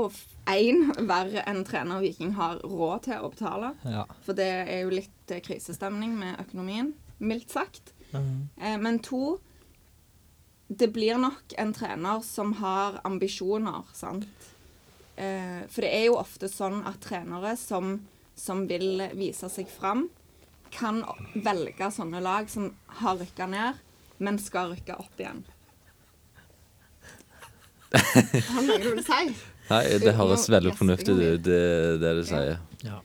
Speaker 2: én være en trener Viking har råd til å betale.
Speaker 3: Ja.
Speaker 2: For det er jo litt eh, krisestemning med økonomien, mildt sagt.
Speaker 3: Mhm.
Speaker 2: Eh, Men to Det blir nok en trener som har ambisjoner, sant? Eh, For det er jo ofte sånn at trenere som, som vil vise seg fram, kan velge sånne lag som har rykka ned, men skal rykke opp igjen. Hva er det du vil si?
Speaker 1: Nei, det høres veldig fornuftig ut, det, det du sier.
Speaker 3: Ja.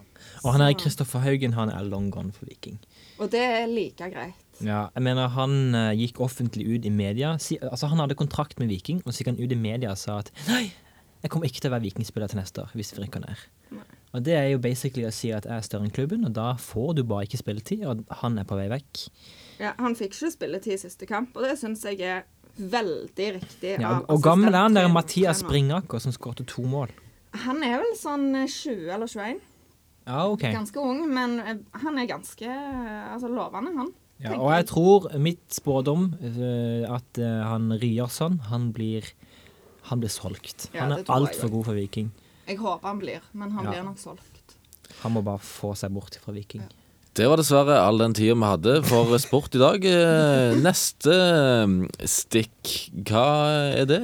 Speaker 3: Og han her Kristoffer Haugen han er long gone for Viking.
Speaker 2: Og det er like greit.
Speaker 3: Ja, jeg mener Han eh, gikk offentlig ut i media. Si, altså Han hadde kontrakt med Viking, og så gikk han ut i media og sa at nei, jeg kommer ikke til å være Vikingspiller til neste år hvis vi rykker ned. Og Det er jo basically å si at jeg er større enn klubben, og da får du bare ikke spilletid, og han er på vei vekk.
Speaker 2: Ja, han fikk ikke spilletid i siste kamp, og det syns jeg er veldig riktig.
Speaker 3: Ja,
Speaker 2: av
Speaker 3: og, og gammel er han der
Speaker 2: assistenttrener-
Speaker 3: Mathias
Speaker 2: altså, trener.
Speaker 3: Bringaker som skåret to mål.
Speaker 2: Han er vel sånn eh, 20 eller 21.
Speaker 3: Ja, ok.
Speaker 2: Ganske ung, men eh, han er ganske eh, altså, lovende, han.
Speaker 3: Ja,
Speaker 2: tenker
Speaker 3: og jeg tror mitt spådom eh, at eh, han Ryerson, han blir han blir solgt.
Speaker 2: Ja,
Speaker 3: han
Speaker 2: det
Speaker 3: er
Speaker 2: tror jeg
Speaker 3: altfor
Speaker 2: også.
Speaker 3: god for Viking.
Speaker 2: Jeg håper han blir, men han
Speaker 3: Ja.
Speaker 2: blir nok solgt.
Speaker 3: Han må bare få seg bort fra Viking.
Speaker 1: Det var dessverre all den tida vi hadde for sport i dag. Eh, Neste eh, stikk, hva er det?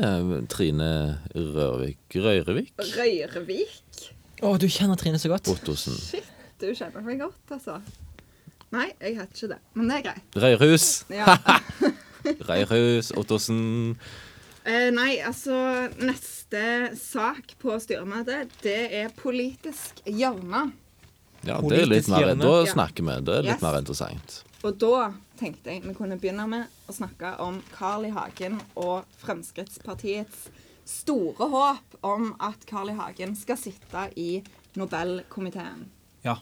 Speaker 1: Trine Rørvik Røyrevik?
Speaker 2: Røyrevik?
Speaker 3: Å, du kjenner Trine så godt.
Speaker 1: Ottosen.
Speaker 2: Shit, du kjenner meg godt, altså. Nei, jeg heter ikke det, men det er greit.
Speaker 1: Røyrhus.
Speaker 2: Ja.
Speaker 1: Røyrhus, Ottosen.
Speaker 2: Eh, nei, altså Neste sak på styremøtet, det er politisk hjørne.
Speaker 1: Ja, det er litt
Speaker 3: Politisk
Speaker 1: mer,
Speaker 3: hjørne.
Speaker 1: da
Speaker 2: Ja.
Speaker 1: snakker vi. Det er
Speaker 2: Yes.
Speaker 1: litt mer interessant.
Speaker 2: Og da tenkte jeg vi kunne begynne med å snakke om Carl I. Hagen og Fremskrittspartiets store håp om at Carl I. Hagen skal sitte i Nobelkomiteen.
Speaker 3: Ja.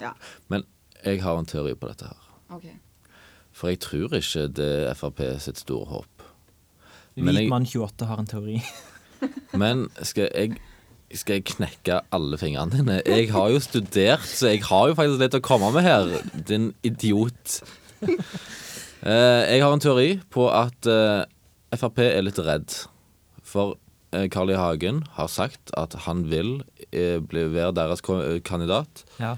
Speaker 2: Ja,
Speaker 1: Men jeg har en teori på dette her.
Speaker 2: OK.
Speaker 1: For jeg tror ikke det er Frp sitt store håp. Men jeg-
Speaker 3: Hvitmann 28 har en teori.
Speaker 1: Men skal jeg skal jeg knekke alle fingrene dine? Jeg har jo studert, så jeg har jo faktisk litt å komme med her, din idiot. Eh, Jeg har en teori på at eh, Frp er litt redd. For eh, Carl I. Hagen har sagt at han vil eh, bli, være deres ko- kandidat.
Speaker 3: Ja.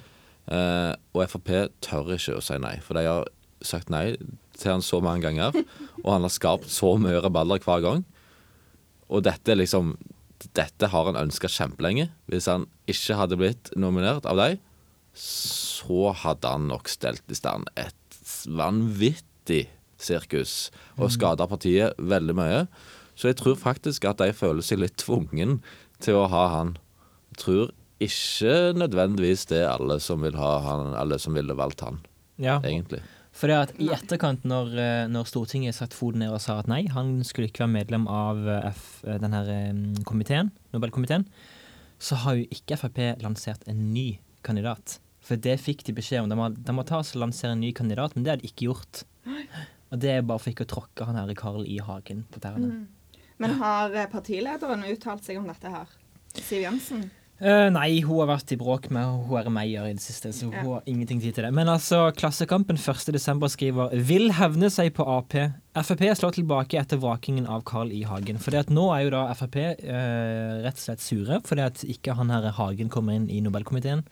Speaker 1: Eh, og Frp tør ikke å si nei, for de har sagt nei til han så mange ganger. Og han har skapt så mye rabalder hver gang. Og dette er liksom Dette har han ønska kjempelenge. Hvis han ikke hadde blitt nominert av dem, så hadde han nok stelt i stand et vanvittig sirkus og skada partiet veldig mye. Så jeg tror faktisk at de føler seg litt tvungen til å ha han. Jeg tror ikke nødvendigvis det er alle som vil ha han, alle som ville valgt han,
Speaker 3: ja.
Speaker 1: egentlig.
Speaker 3: For det at i etterkant, når, eh, når Stortinget satte foten ned og sa at nei, han skulle ikke være medlem av eh, F, eh, den her eh, komiteen, Nobelkomiteen, så har jo ikke Frp lansert en ny kandidat. For det fikk de beskjed om. De må, de må ta oss og lansere en ny kandidat, men det har de ikke gjort. Og det er bare for ikke å tråkke han her Carl I. Hagen på tærne.
Speaker 2: Men har eh, partilederen uttalt seg om dette her? Siv Jensen?
Speaker 3: Eh, nei, hun har vært i bråk med hun er Meyer i det siste, så hun
Speaker 2: Ja.
Speaker 3: har ingenting tid til det. Men altså, Klassekampen 1.12. skriver 'Vil hevne seg på Ap'. Frp slår tilbake etter vrakingen av Carl I. Hagen. For at nå er jo da Frp eh, rett og slett sure fordi at ikke han her Hagen kommer inn i Nobelkomiteen.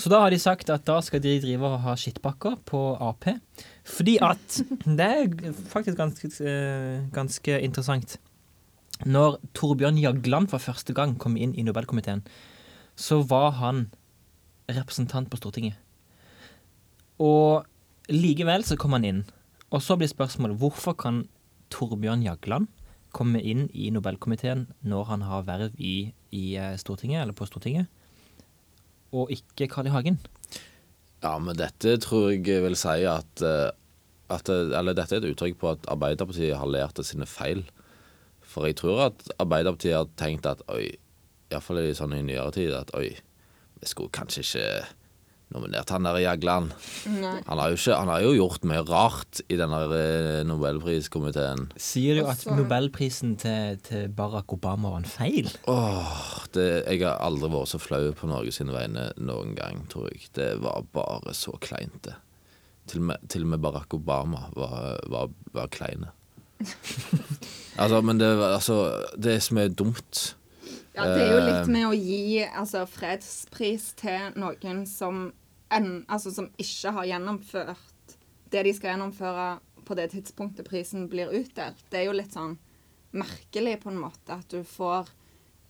Speaker 3: Så da har de sagt at da skal de drive og ha skittpakker på Ap. Fordi at Det er faktisk ganske, eh, ganske interessant. Når Torbjørn Jagland for første gang kom inn i Nobelkomiteen, så var han representant på Stortinget. Og likevel så kom han inn. Og så blir spørsmålet hvorfor kan Torbjørn Jagland komme inn i Nobelkomiteen når han har verv i, i eh, Stortinget, eller på Stortinget, og ikke Carl I. Hagen?
Speaker 1: Ja, men dette tror jeg vil si at, eh, at Eller dette er et uttrykk på at Arbeiderpartiet har lært av sine feil. For jeg tror at Arbeiderpartiet har tenkt at oi, iallfall sånn i nyere tid, at oi, vi skulle kanskje ikke nominert han der Jagland.
Speaker 2: Nei.
Speaker 1: Han har jo, ikke, han har jo gjort mye rart i den der eh, nobelpriskomiteen.
Speaker 3: Sier du at
Speaker 2: Altså-
Speaker 3: Nobelprisen til, til Barack Obama var en feil?
Speaker 1: Åh, det, jeg har aldri vært så flau på Norges sine vegne noen gang, tror jeg. Det var bare så kleint, det. Til og med, til og med Barack Obama var, var, var kleine. altså, men det, var- altså, det som er dumt
Speaker 2: Ja, det er jo litt med å gi altså, fredspris til noen som, enn- altså, som ikke har gjennomført det de skal gjennomføre på det tidspunktet prisen blir utdelt. Det er jo litt sånn merkelig på en måte at du får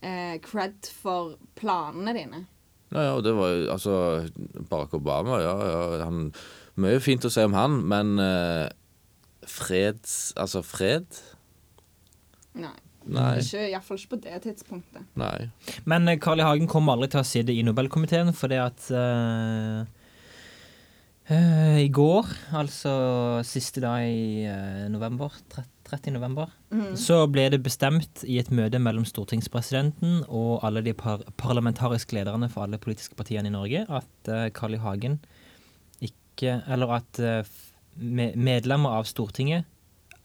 Speaker 2: eh, cred for planene dine.
Speaker 1: Ja, ja, og det var jo altså Barack Obama, ja, ja han, Mye fint å si om han, men eh, freds Altså, fred?
Speaker 2: Nei.
Speaker 1: Nei.
Speaker 2: Ikke, iallfall ikke på det tidspunktet.
Speaker 1: Nei.
Speaker 3: Men eh, Carl I. Hagen kommer aldri til å sitte i Nobelkomiteen, fordi at eh, eh, I går, altså siste dag i eh, november, tre- 30. november, så ble det bestemt i et møte mellom stortingspresidenten og alle de par parlamentariske lederne for alle politiske partiene i Norge at eh, Carl I. Hagen ikke Eller at eh, f- me- medlemmer av Stortinget,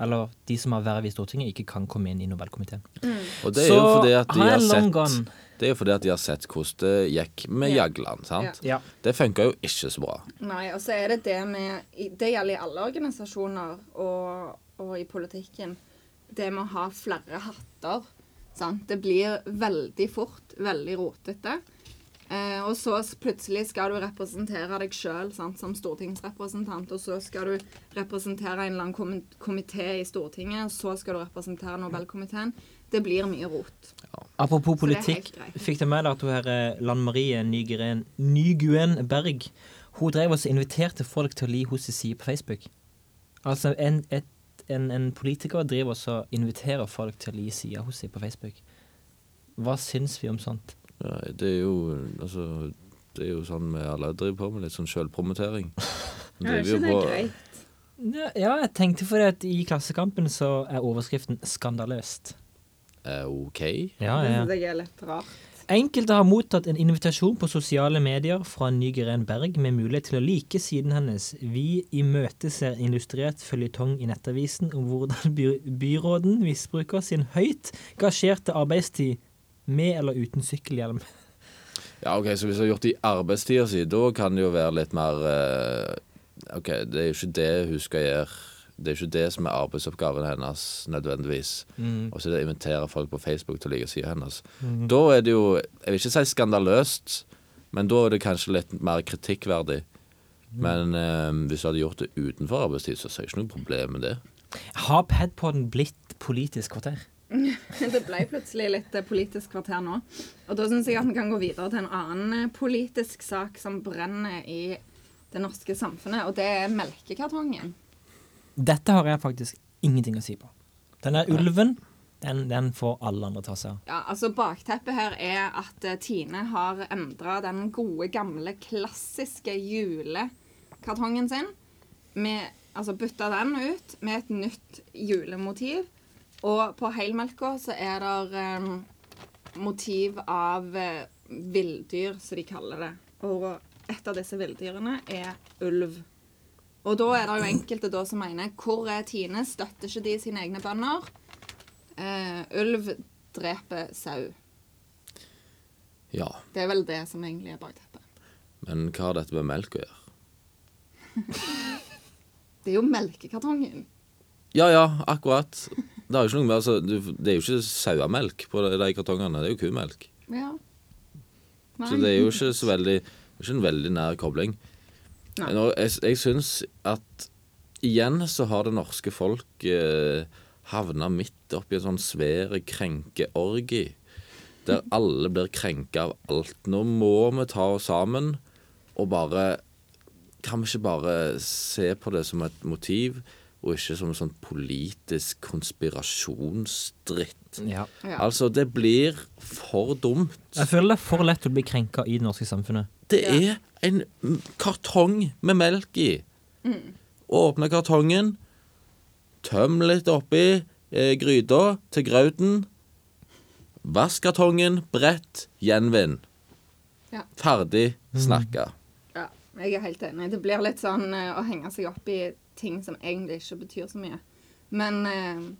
Speaker 3: eller de som har verv i Stortinget, ikke kan komme inn i Nobelkomiteen.
Speaker 1: Og det er jo fordi at de
Speaker 3: han er
Speaker 1: har
Speaker 3: long
Speaker 1: sett
Speaker 3: gone.
Speaker 1: Det er jo fordi at de har sett hvordan det gikk med
Speaker 2: Ja.
Speaker 1: Jagland. sant?
Speaker 3: Ja.
Speaker 1: Det funka jo ikke så bra.
Speaker 2: Nei, og så er det det med i- Det gjelder i alle organisasjoner og, og i politikken. Det med å ha flere hatter. Sant? Det blir veldig fort veldig rotete. Eh, og så s- plutselig skal du representere deg sjøl som stortingsrepresentant, og så skal du representere en eller annen komi- komité i Stortinget, og så skal du representere Nobelkomiteen. Det blir mye rot.
Speaker 3: Apropos
Speaker 2: Så det er
Speaker 3: politikk,
Speaker 2: helt greit.
Speaker 3: fikk du med deg at hun her eh, Lan Marie Nygren, Nyguen Berg Hun drev også og inviterte folk til å li hos sin side på Facebook. Altså, en, et, en, en politiker driver også og inviterer folk til å li sida hos seg på Facebook. Hva syns vi om sånt?
Speaker 1: Ja, det er jo altså, det er jo sånn vi alle driver på med, litt sånn sjølpromotering. Vi driver jo på-
Speaker 3: Ja, jeg tenkte fordi at i Klassekampen så er overskriften 'skandaløst'.
Speaker 1: Eh, OK.
Speaker 3: Ja,
Speaker 2: Det
Speaker 3: ja.
Speaker 2: syns jeg er litt rart.
Speaker 3: Enkelte har mottatt en invitasjon på sosiale medier fra Nygren Berg med mulighet til å like siden hennes. Vi imøteser en illustrert føljetong i Nettavisen om hvordan by byråden misbruker sin høyt gasjerte arbeidstid med eller uten sykkelhjelm.
Speaker 1: Ja, ok, Så hvis du har gjort det i arbeidstida si, da kan det jo være litt mer eh, OK, det er jo ikke det hun skal gjøre. Det er ikke det som er arbeidsoppgaven hennes, nødvendigvis. Og så er det å invitere folk på Facebook til å like sida hennes. Da er det jo Jeg vil ikke si skandaløst, men da er det kanskje litt mer kritikkverdig. Men eh, hvis du hadde gjort det utenfor arbeidstid, så er det ikke noe problem med det.
Speaker 3: Har Padpoden blitt politisk kvarter?
Speaker 2: Det ble plutselig litt eh, politisk kvarter nå. Og da syns jeg at vi kan gå videre til en annen eh, politisk sak som brenner i det norske samfunnet, og det er melkekartongen.
Speaker 3: Dette har jeg faktisk ingenting å si på. Den der ulven, den, den får alle andre ta seg av.
Speaker 2: Ja, altså Bakteppet her er at eh, Tine har endra den gode, gamle, klassiske julekartongen sin. Med, altså bytta den ut med et nytt julemotiv. Og på helmelka så er det motiv av eh, villdyr, som de kaller det. Og et av disse villdyrene er ulv. Og da er det jo enkelte da som mener Hvor er Tine? Støtter ikke de sine egne bønder? Eh, ulv dreper sau.
Speaker 1: Ja.
Speaker 2: Det er vel det som egentlig er bakteppet.
Speaker 1: Men hva har dette med melk å gjøre?
Speaker 2: Det er jo melkekartongen.
Speaker 1: Ja, ja, akkurat. Det er jo ikke noe med, altså, du- det er jo ikke sauemelk på de, de kartongene. Det er jo kumelk.
Speaker 2: Ja. Nei.
Speaker 1: Så det er jo ikke så veldig det er ikke en veldig nær kobling.
Speaker 2: Nei.
Speaker 1: Nå, jeg jeg syns at igjen så har det norske folk eh, havna midt oppi en sånn svær krenkeorgi. Der alle blir krenka av alt. Nå må vi ta oss sammen og bare Kan vi ikke bare se på det som et motiv, og ikke som en sånn politisk konspirasjonsdritt?
Speaker 3: Ja.
Speaker 2: ja.
Speaker 1: Altså, det blir for dumt.
Speaker 3: Jeg føler det er for lett å bli krenka i det norske samfunnet.
Speaker 1: Det
Speaker 2: Ja.
Speaker 1: er en m- kartong med melk i.
Speaker 2: Mm.
Speaker 1: Åpne kartongen, tøm litt oppi eh, gryta til grauten. Vask kartongen, brett, gjenvinn.
Speaker 2: Ja.
Speaker 1: Ferdig snakka.
Speaker 2: ja. Jeg er helt enig. Det blir litt sånn eh, å henge seg opp i ting som egentlig ikke betyr så mye. Men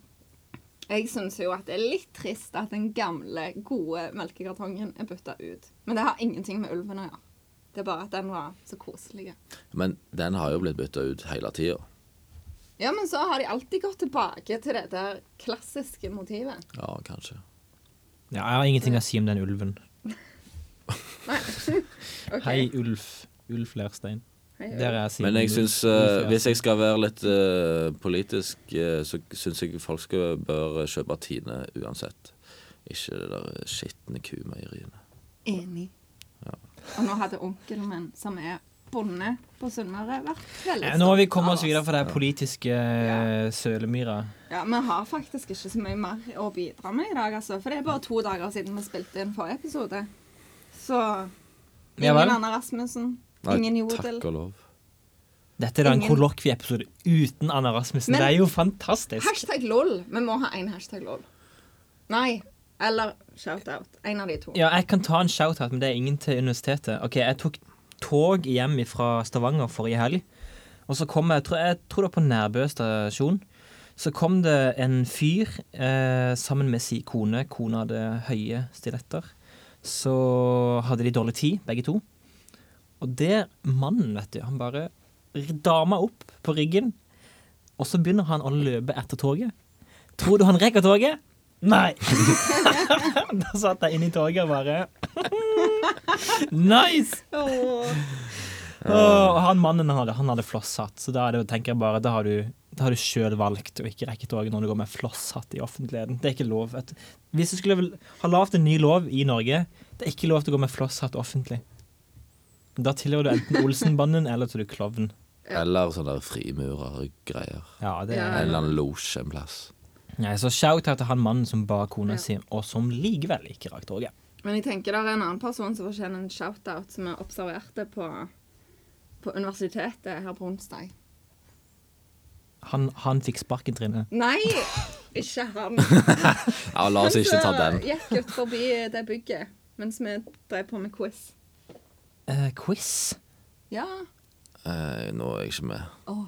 Speaker 2: eh, jeg syns jo at det er litt trist at den gamle, gode melkekartongen er bytta ut. Men det har ingenting med ulven å gjøre. Det er bare at den var så koselig.
Speaker 1: Men den har jo blitt bytta ut hele tida.
Speaker 2: Ja, men så har de alltid gått tilbake til det der klassiske motivet.
Speaker 1: Ja, kanskje.
Speaker 3: Ja, jeg har ingenting å si om den ulven.
Speaker 2: Nei. Ok.
Speaker 3: Hei, Ulf. Ulf Lerstein.
Speaker 2: Hei,
Speaker 3: Der er jeg
Speaker 1: Men jeg
Speaker 3: Ulf.
Speaker 1: syns,
Speaker 3: Ulf
Speaker 1: eh, hvis jeg
Speaker 3: Lerstein.
Speaker 1: skal være litt eh, politisk, eh, så syns jeg folk skal bør kjøpe Tine uansett. Ikke det der skitne kumeieriene.
Speaker 2: Enig. Og nå hadde onkelen min, som er bonde på Sunnmøre, vært veldig
Speaker 3: Eh, Nå må vi
Speaker 2: stolt
Speaker 3: komme
Speaker 2: av
Speaker 3: oss videre fra det her politiske eh, sølemyra.
Speaker 2: Ja, Vi har faktisk ikke så mye mer å bidra med i dag, altså. For det er bare to dager siden vi spilte inn forrige episode. Så ingen
Speaker 3: Ja vel.
Speaker 2: Anna Rasmussen. Ingen Jodel.
Speaker 1: Takk og lov.
Speaker 3: Dette er da en
Speaker 2: Ingen-
Speaker 3: kollokvieepisode uten Anna Rasmussen.
Speaker 2: Men-
Speaker 3: det er jo fantastisk.
Speaker 2: Hashtag LOL. Vi må ha én hashtag LOL. Nei. Eller shout-out. En av de to.
Speaker 3: Ja, jeg kan ta en shout-out, men det er ingen til universitetet. Ok, Jeg tok tog hjem fra Stavanger forrige helg, og så kom jeg jeg tror, jeg tror det var på Nærbø stasjon. Så kom det en fyr eh, sammen med si kone. Kona hadde høye stiletter. Så hadde de dårlig tid, begge to. Og der mannen, vet du, han bare dama opp på ryggen, og så begynner han å løpe etter toget. Tror du han rekker toget? Nei! da satt jeg inne i toget og bare Nice!
Speaker 2: Åh.
Speaker 3: Og han mannen han hadde, han hadde flosshatt, så da er det, tenker jeg bare Da har du, da har du sjøl valgt å ikke rekke toget når du går med flosshatt i offentligheten. Det er ikke lov. vet du. Hvis du skulle vel- ha lagd en ny lov i Norge, det er ikke lov til å gå med flosshatt offentlig. Da tilhører du enten Olsenbanden eller så er du klovn.
Speaker 2: Ja.
Speaker 1: Eller sånne der frimurergreier.
Speaker 3: Ja, det
Speaker 1: En
Speaker 3: er...
Speaker 2: Ja.
Speaker 1: eller annen losj en plass.
Speaker 3: Nei, så shout out til han mannen som ba kona
Speaker 2: Ja.
Speaker 3: si, og som likevel ikke rakk toget.
Speaker 2: Men jeg tenker det er en annen person som fortjener en shout-out, som jeg observerte på, på universitetet her på onsdag.
Speaker 3: Han, han fikk sparken, Trine.
Speaker 2: Nei, ikke han.
Speaker 1: Ja, la oss ikke ta den.
Speaker 2: Han som gikk ut forbi det bygget mens vi drev på med quiz.
Speaker 3: Eh, quiz?
Speaker 2: Ja.
Speaker 1: Eh, nå er jeg ikke med.
Speaker 2: Åh.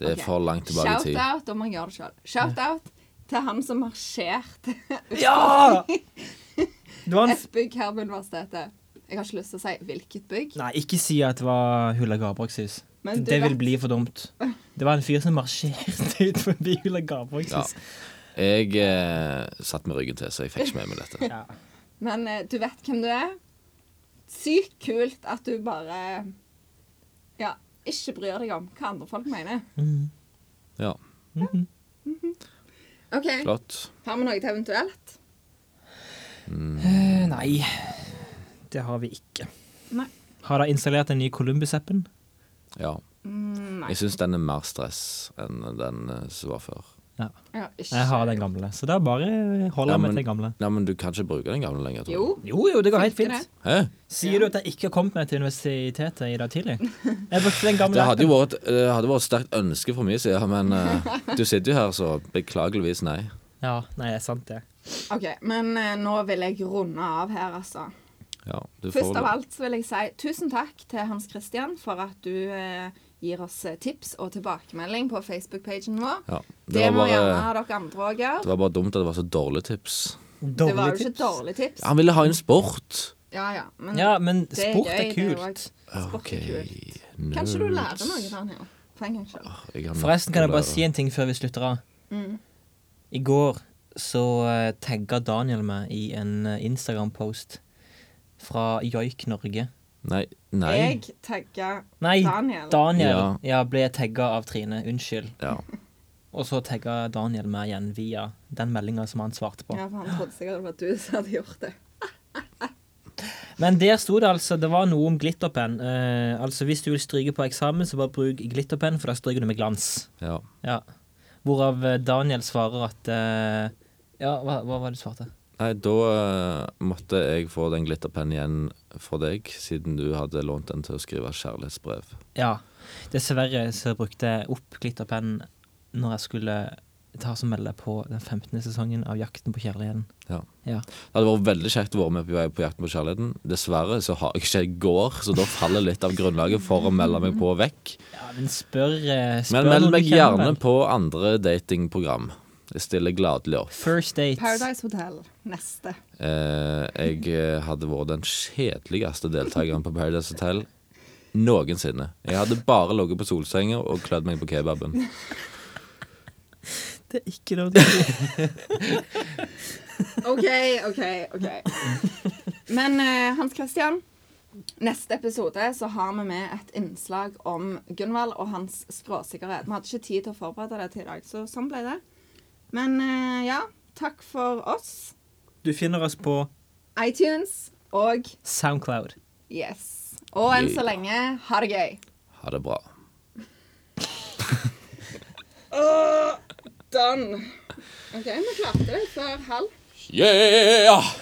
Speaker 1: Det er
Speaker 2: Ok.
Speaker 1: for langt tilbake i tid.
Speaker 2: Shout-out om han gjør det sjøl. Shout-out til han som marsjerte
Speaker 3: Ja! Det var en...
Speaker 2: et bygg her på universitetet. Jeg har ikke lyst til å si hvilket bygg.
Speaker 3: Nei, ikke si at det var Hula Gabraks hus.
Speaker 2: Men du
Speaker 3: Det vil
Speaker 2: vet-
Speaker 3: bli for dumt. Det var en fyr som marsjerte ut forbi Hula Gabraks
Speaker 1: Ja.
Speaker 3: hus.
Speaker 1: Jeg eh, satt med ryggen til, så jeg fikk ikke med meg dette.
Speaker 3: Ja.
Speaker 2: Men eh, du vet hvem du er. Sykt kult at du bare Ja, ikke bryr deg om hva andre folk mener.
Speaker 3: Mm.
Speaker 1: Ja,
Speaker 2: OK,
Speaker 1: flott.
Speaker 2: har vi noe til eventuelt?
Speaker 3: Eh, nei, det har vi ikke.
Speaker 2: Nei.
Speaker 3: Har dere installert den nye Columbus-appen?
Speaker 1: Ja.
Speaker 2: Mm, nei.
Speaker 1: Jeg syns den er mer stress enn den eh, som var før.
Speaker 3: Ja.
Speaker 2: Ja, ikke.
Speaker 3: Jeg har den gamle, så da bare holder
Speaker 1: Ja,
Speaker 3: jeg
Speaker 1: men-
Speaker 3: meg til den gamle.
Speaker 1: Nei, men du kan ikke bruke den gamle lenger,
Speaker 2: Jo.
Speaker 1: tror jeg.
Speaker 3: Jo, jo, det går helt
Speaker 2: Funker
Speaker 3: fint.
Speaker 2: det?
Speaker 1: Hæ?
Speaker 3: Sier du at jeg ikke har kommet meg til universitetet i dag tidlig? Jeg brukte den gamle
Speaker 1: Det hadde jo
Speaker 3: appen.
Speaker 1: vært, det hadde vært et sterkt ønske for mye siden, men eh, du sitter jo her, så beklageligvis nei.
Speaker 3: Ja, nei, det er sant det.
Speaker 2: OK, men eh, nå vil jeg runde av her, altså.
Speaker 1: Ja, du får
Speaker 2: Først av alt så vil jeg si tusen takk til Hans Christian for at du eh, gir oss eh, tips og tilbakemelding på Facebook-pagen vår.
Speaker 1: Ja.
Speaker 2: Det,
Speaker 1: Det, var
Speaker 2: må gjerne
Speaker 1: bare,
Speaker 2: dere andre òg gjøre.
Speaker 1: det var bare dumt at det var så dårlige tips.
Speaker 2: Det var jo ikke
Speaker 3: tips.
Speaker 2: dårlige tips.
Speaker 1: Han ville ha inn sport.
Speaker 2: Ja, ja. Men
Speaker 3: Ja, men
Speaker 2: det er
Speaker 3: sport
Speaker 2: gøy,
Speaker 3: er
Speaker 2: det er jo
Speaker 3: kult.
Speaker 1: Ah, OK.
Speaker 2: Sportkult.
Speaker 1: Nerds.
Speaker 2: kanskje du lærer noe av den her. For en gangs skyld. Mm.
Speaker 1: Jeg har nok
Speaker 3: Forresten kan
Speaker 1: å
Speaker 3: jeg bare
Speaker 1: lære.
Speaker 3: si en ting før vi slutter av. I går så uh, tagga Daniel meg i en eh, Instagram-post fra Joik Norge.
Speaker 1: Nei. nei.
Speaker 2: Jeg tagger
Speaker 3: Nei,
Speaker 2: Daniel.
Speaker 3: Daniel
Speaker 1: Ja.
Speaker 3: ja, ble tagga av Trine. Unnskyld.
Speaker 1: Ja.
Speaker 3: Og så tagga Daniel meg igjen via den meldinga som han svarte på.
Speaker 2: Ja, for han trodde sikkert det var du som hadde gjort det.
Speaker 3: Men der sto det altså Det var noe om glitterpenn. Eh, altså hvis du vil stryke på eksamen, så bare bruk glitterpenn, for da stryker du med glans.
Speaker 1: ja.
Speaker 3: Ja. Hvorav eh, Daniel svarer at eh, Ja, hva, hva var det du svarte?
Speaker 1: Nei, da eh, måtte jeg få den glitterpennen igjen fra deg, siden du hadde lånt den til å skrive kjærlighetsbrev.
Speaker 3: Ja. Dessverre så brukte jeg opp glitterpennen når jeg skulle ta som melde på den 15. sesongen av Jakten på kjærligheten.
Speaker 1: Ja.
Speaker 3: Ja.
Speaker 1: Det hadde vært veldig kjekt å være med på vei på Jakten på kjærligheten. Dessverre så har jeg ikke i går, så da faller litt av grunnlaget for å melde meg på vekk.
Speaker 3: ja men spør, eh, spør
Speaker 1: Men meld
Speaker 3: noen du
Speaker 1: meg
Speaker 3: kjenner,
Speaker 1: gjerne
Speaker 3: vel.
Speaker 1: på andre datingprogram. Jeg stiller gladelig opp.
Speaker 3: First Dates.
Speaker 2: Paradise Hotel. Neste.
Speaker 1: Eh, jeg eh, hadde vært den kjedeligste deltakeren på Paradise Hotel noensinne. Jeg hadde bare ligget på solsenga og klødd meg på kebaben.
Speaker 3: Det er ikke lov til å si.
Speaker 2: OK, OK, OK. Men eh, Hans Christian, neste episode så har vi med et innslag om Gunvald og hans skråsikkerhet. Vi hadde ikke tid til å forberede det til i dag, så sånn ble det. Men eh, ja, takk for oss.
Speaker 3: Du finner oss på
Speaker 2: iTunes og
Speaker 3: Soundcloud.
Speaker 2: Yes. Og enn så
Speaker 1: Yeah.
Speaker 2: lenge, ha det gøy.
Speaker 1: Ha det bra.
Speaker 2: Done. OK, vi klarte det før halv.
Speaker 1: Yeah!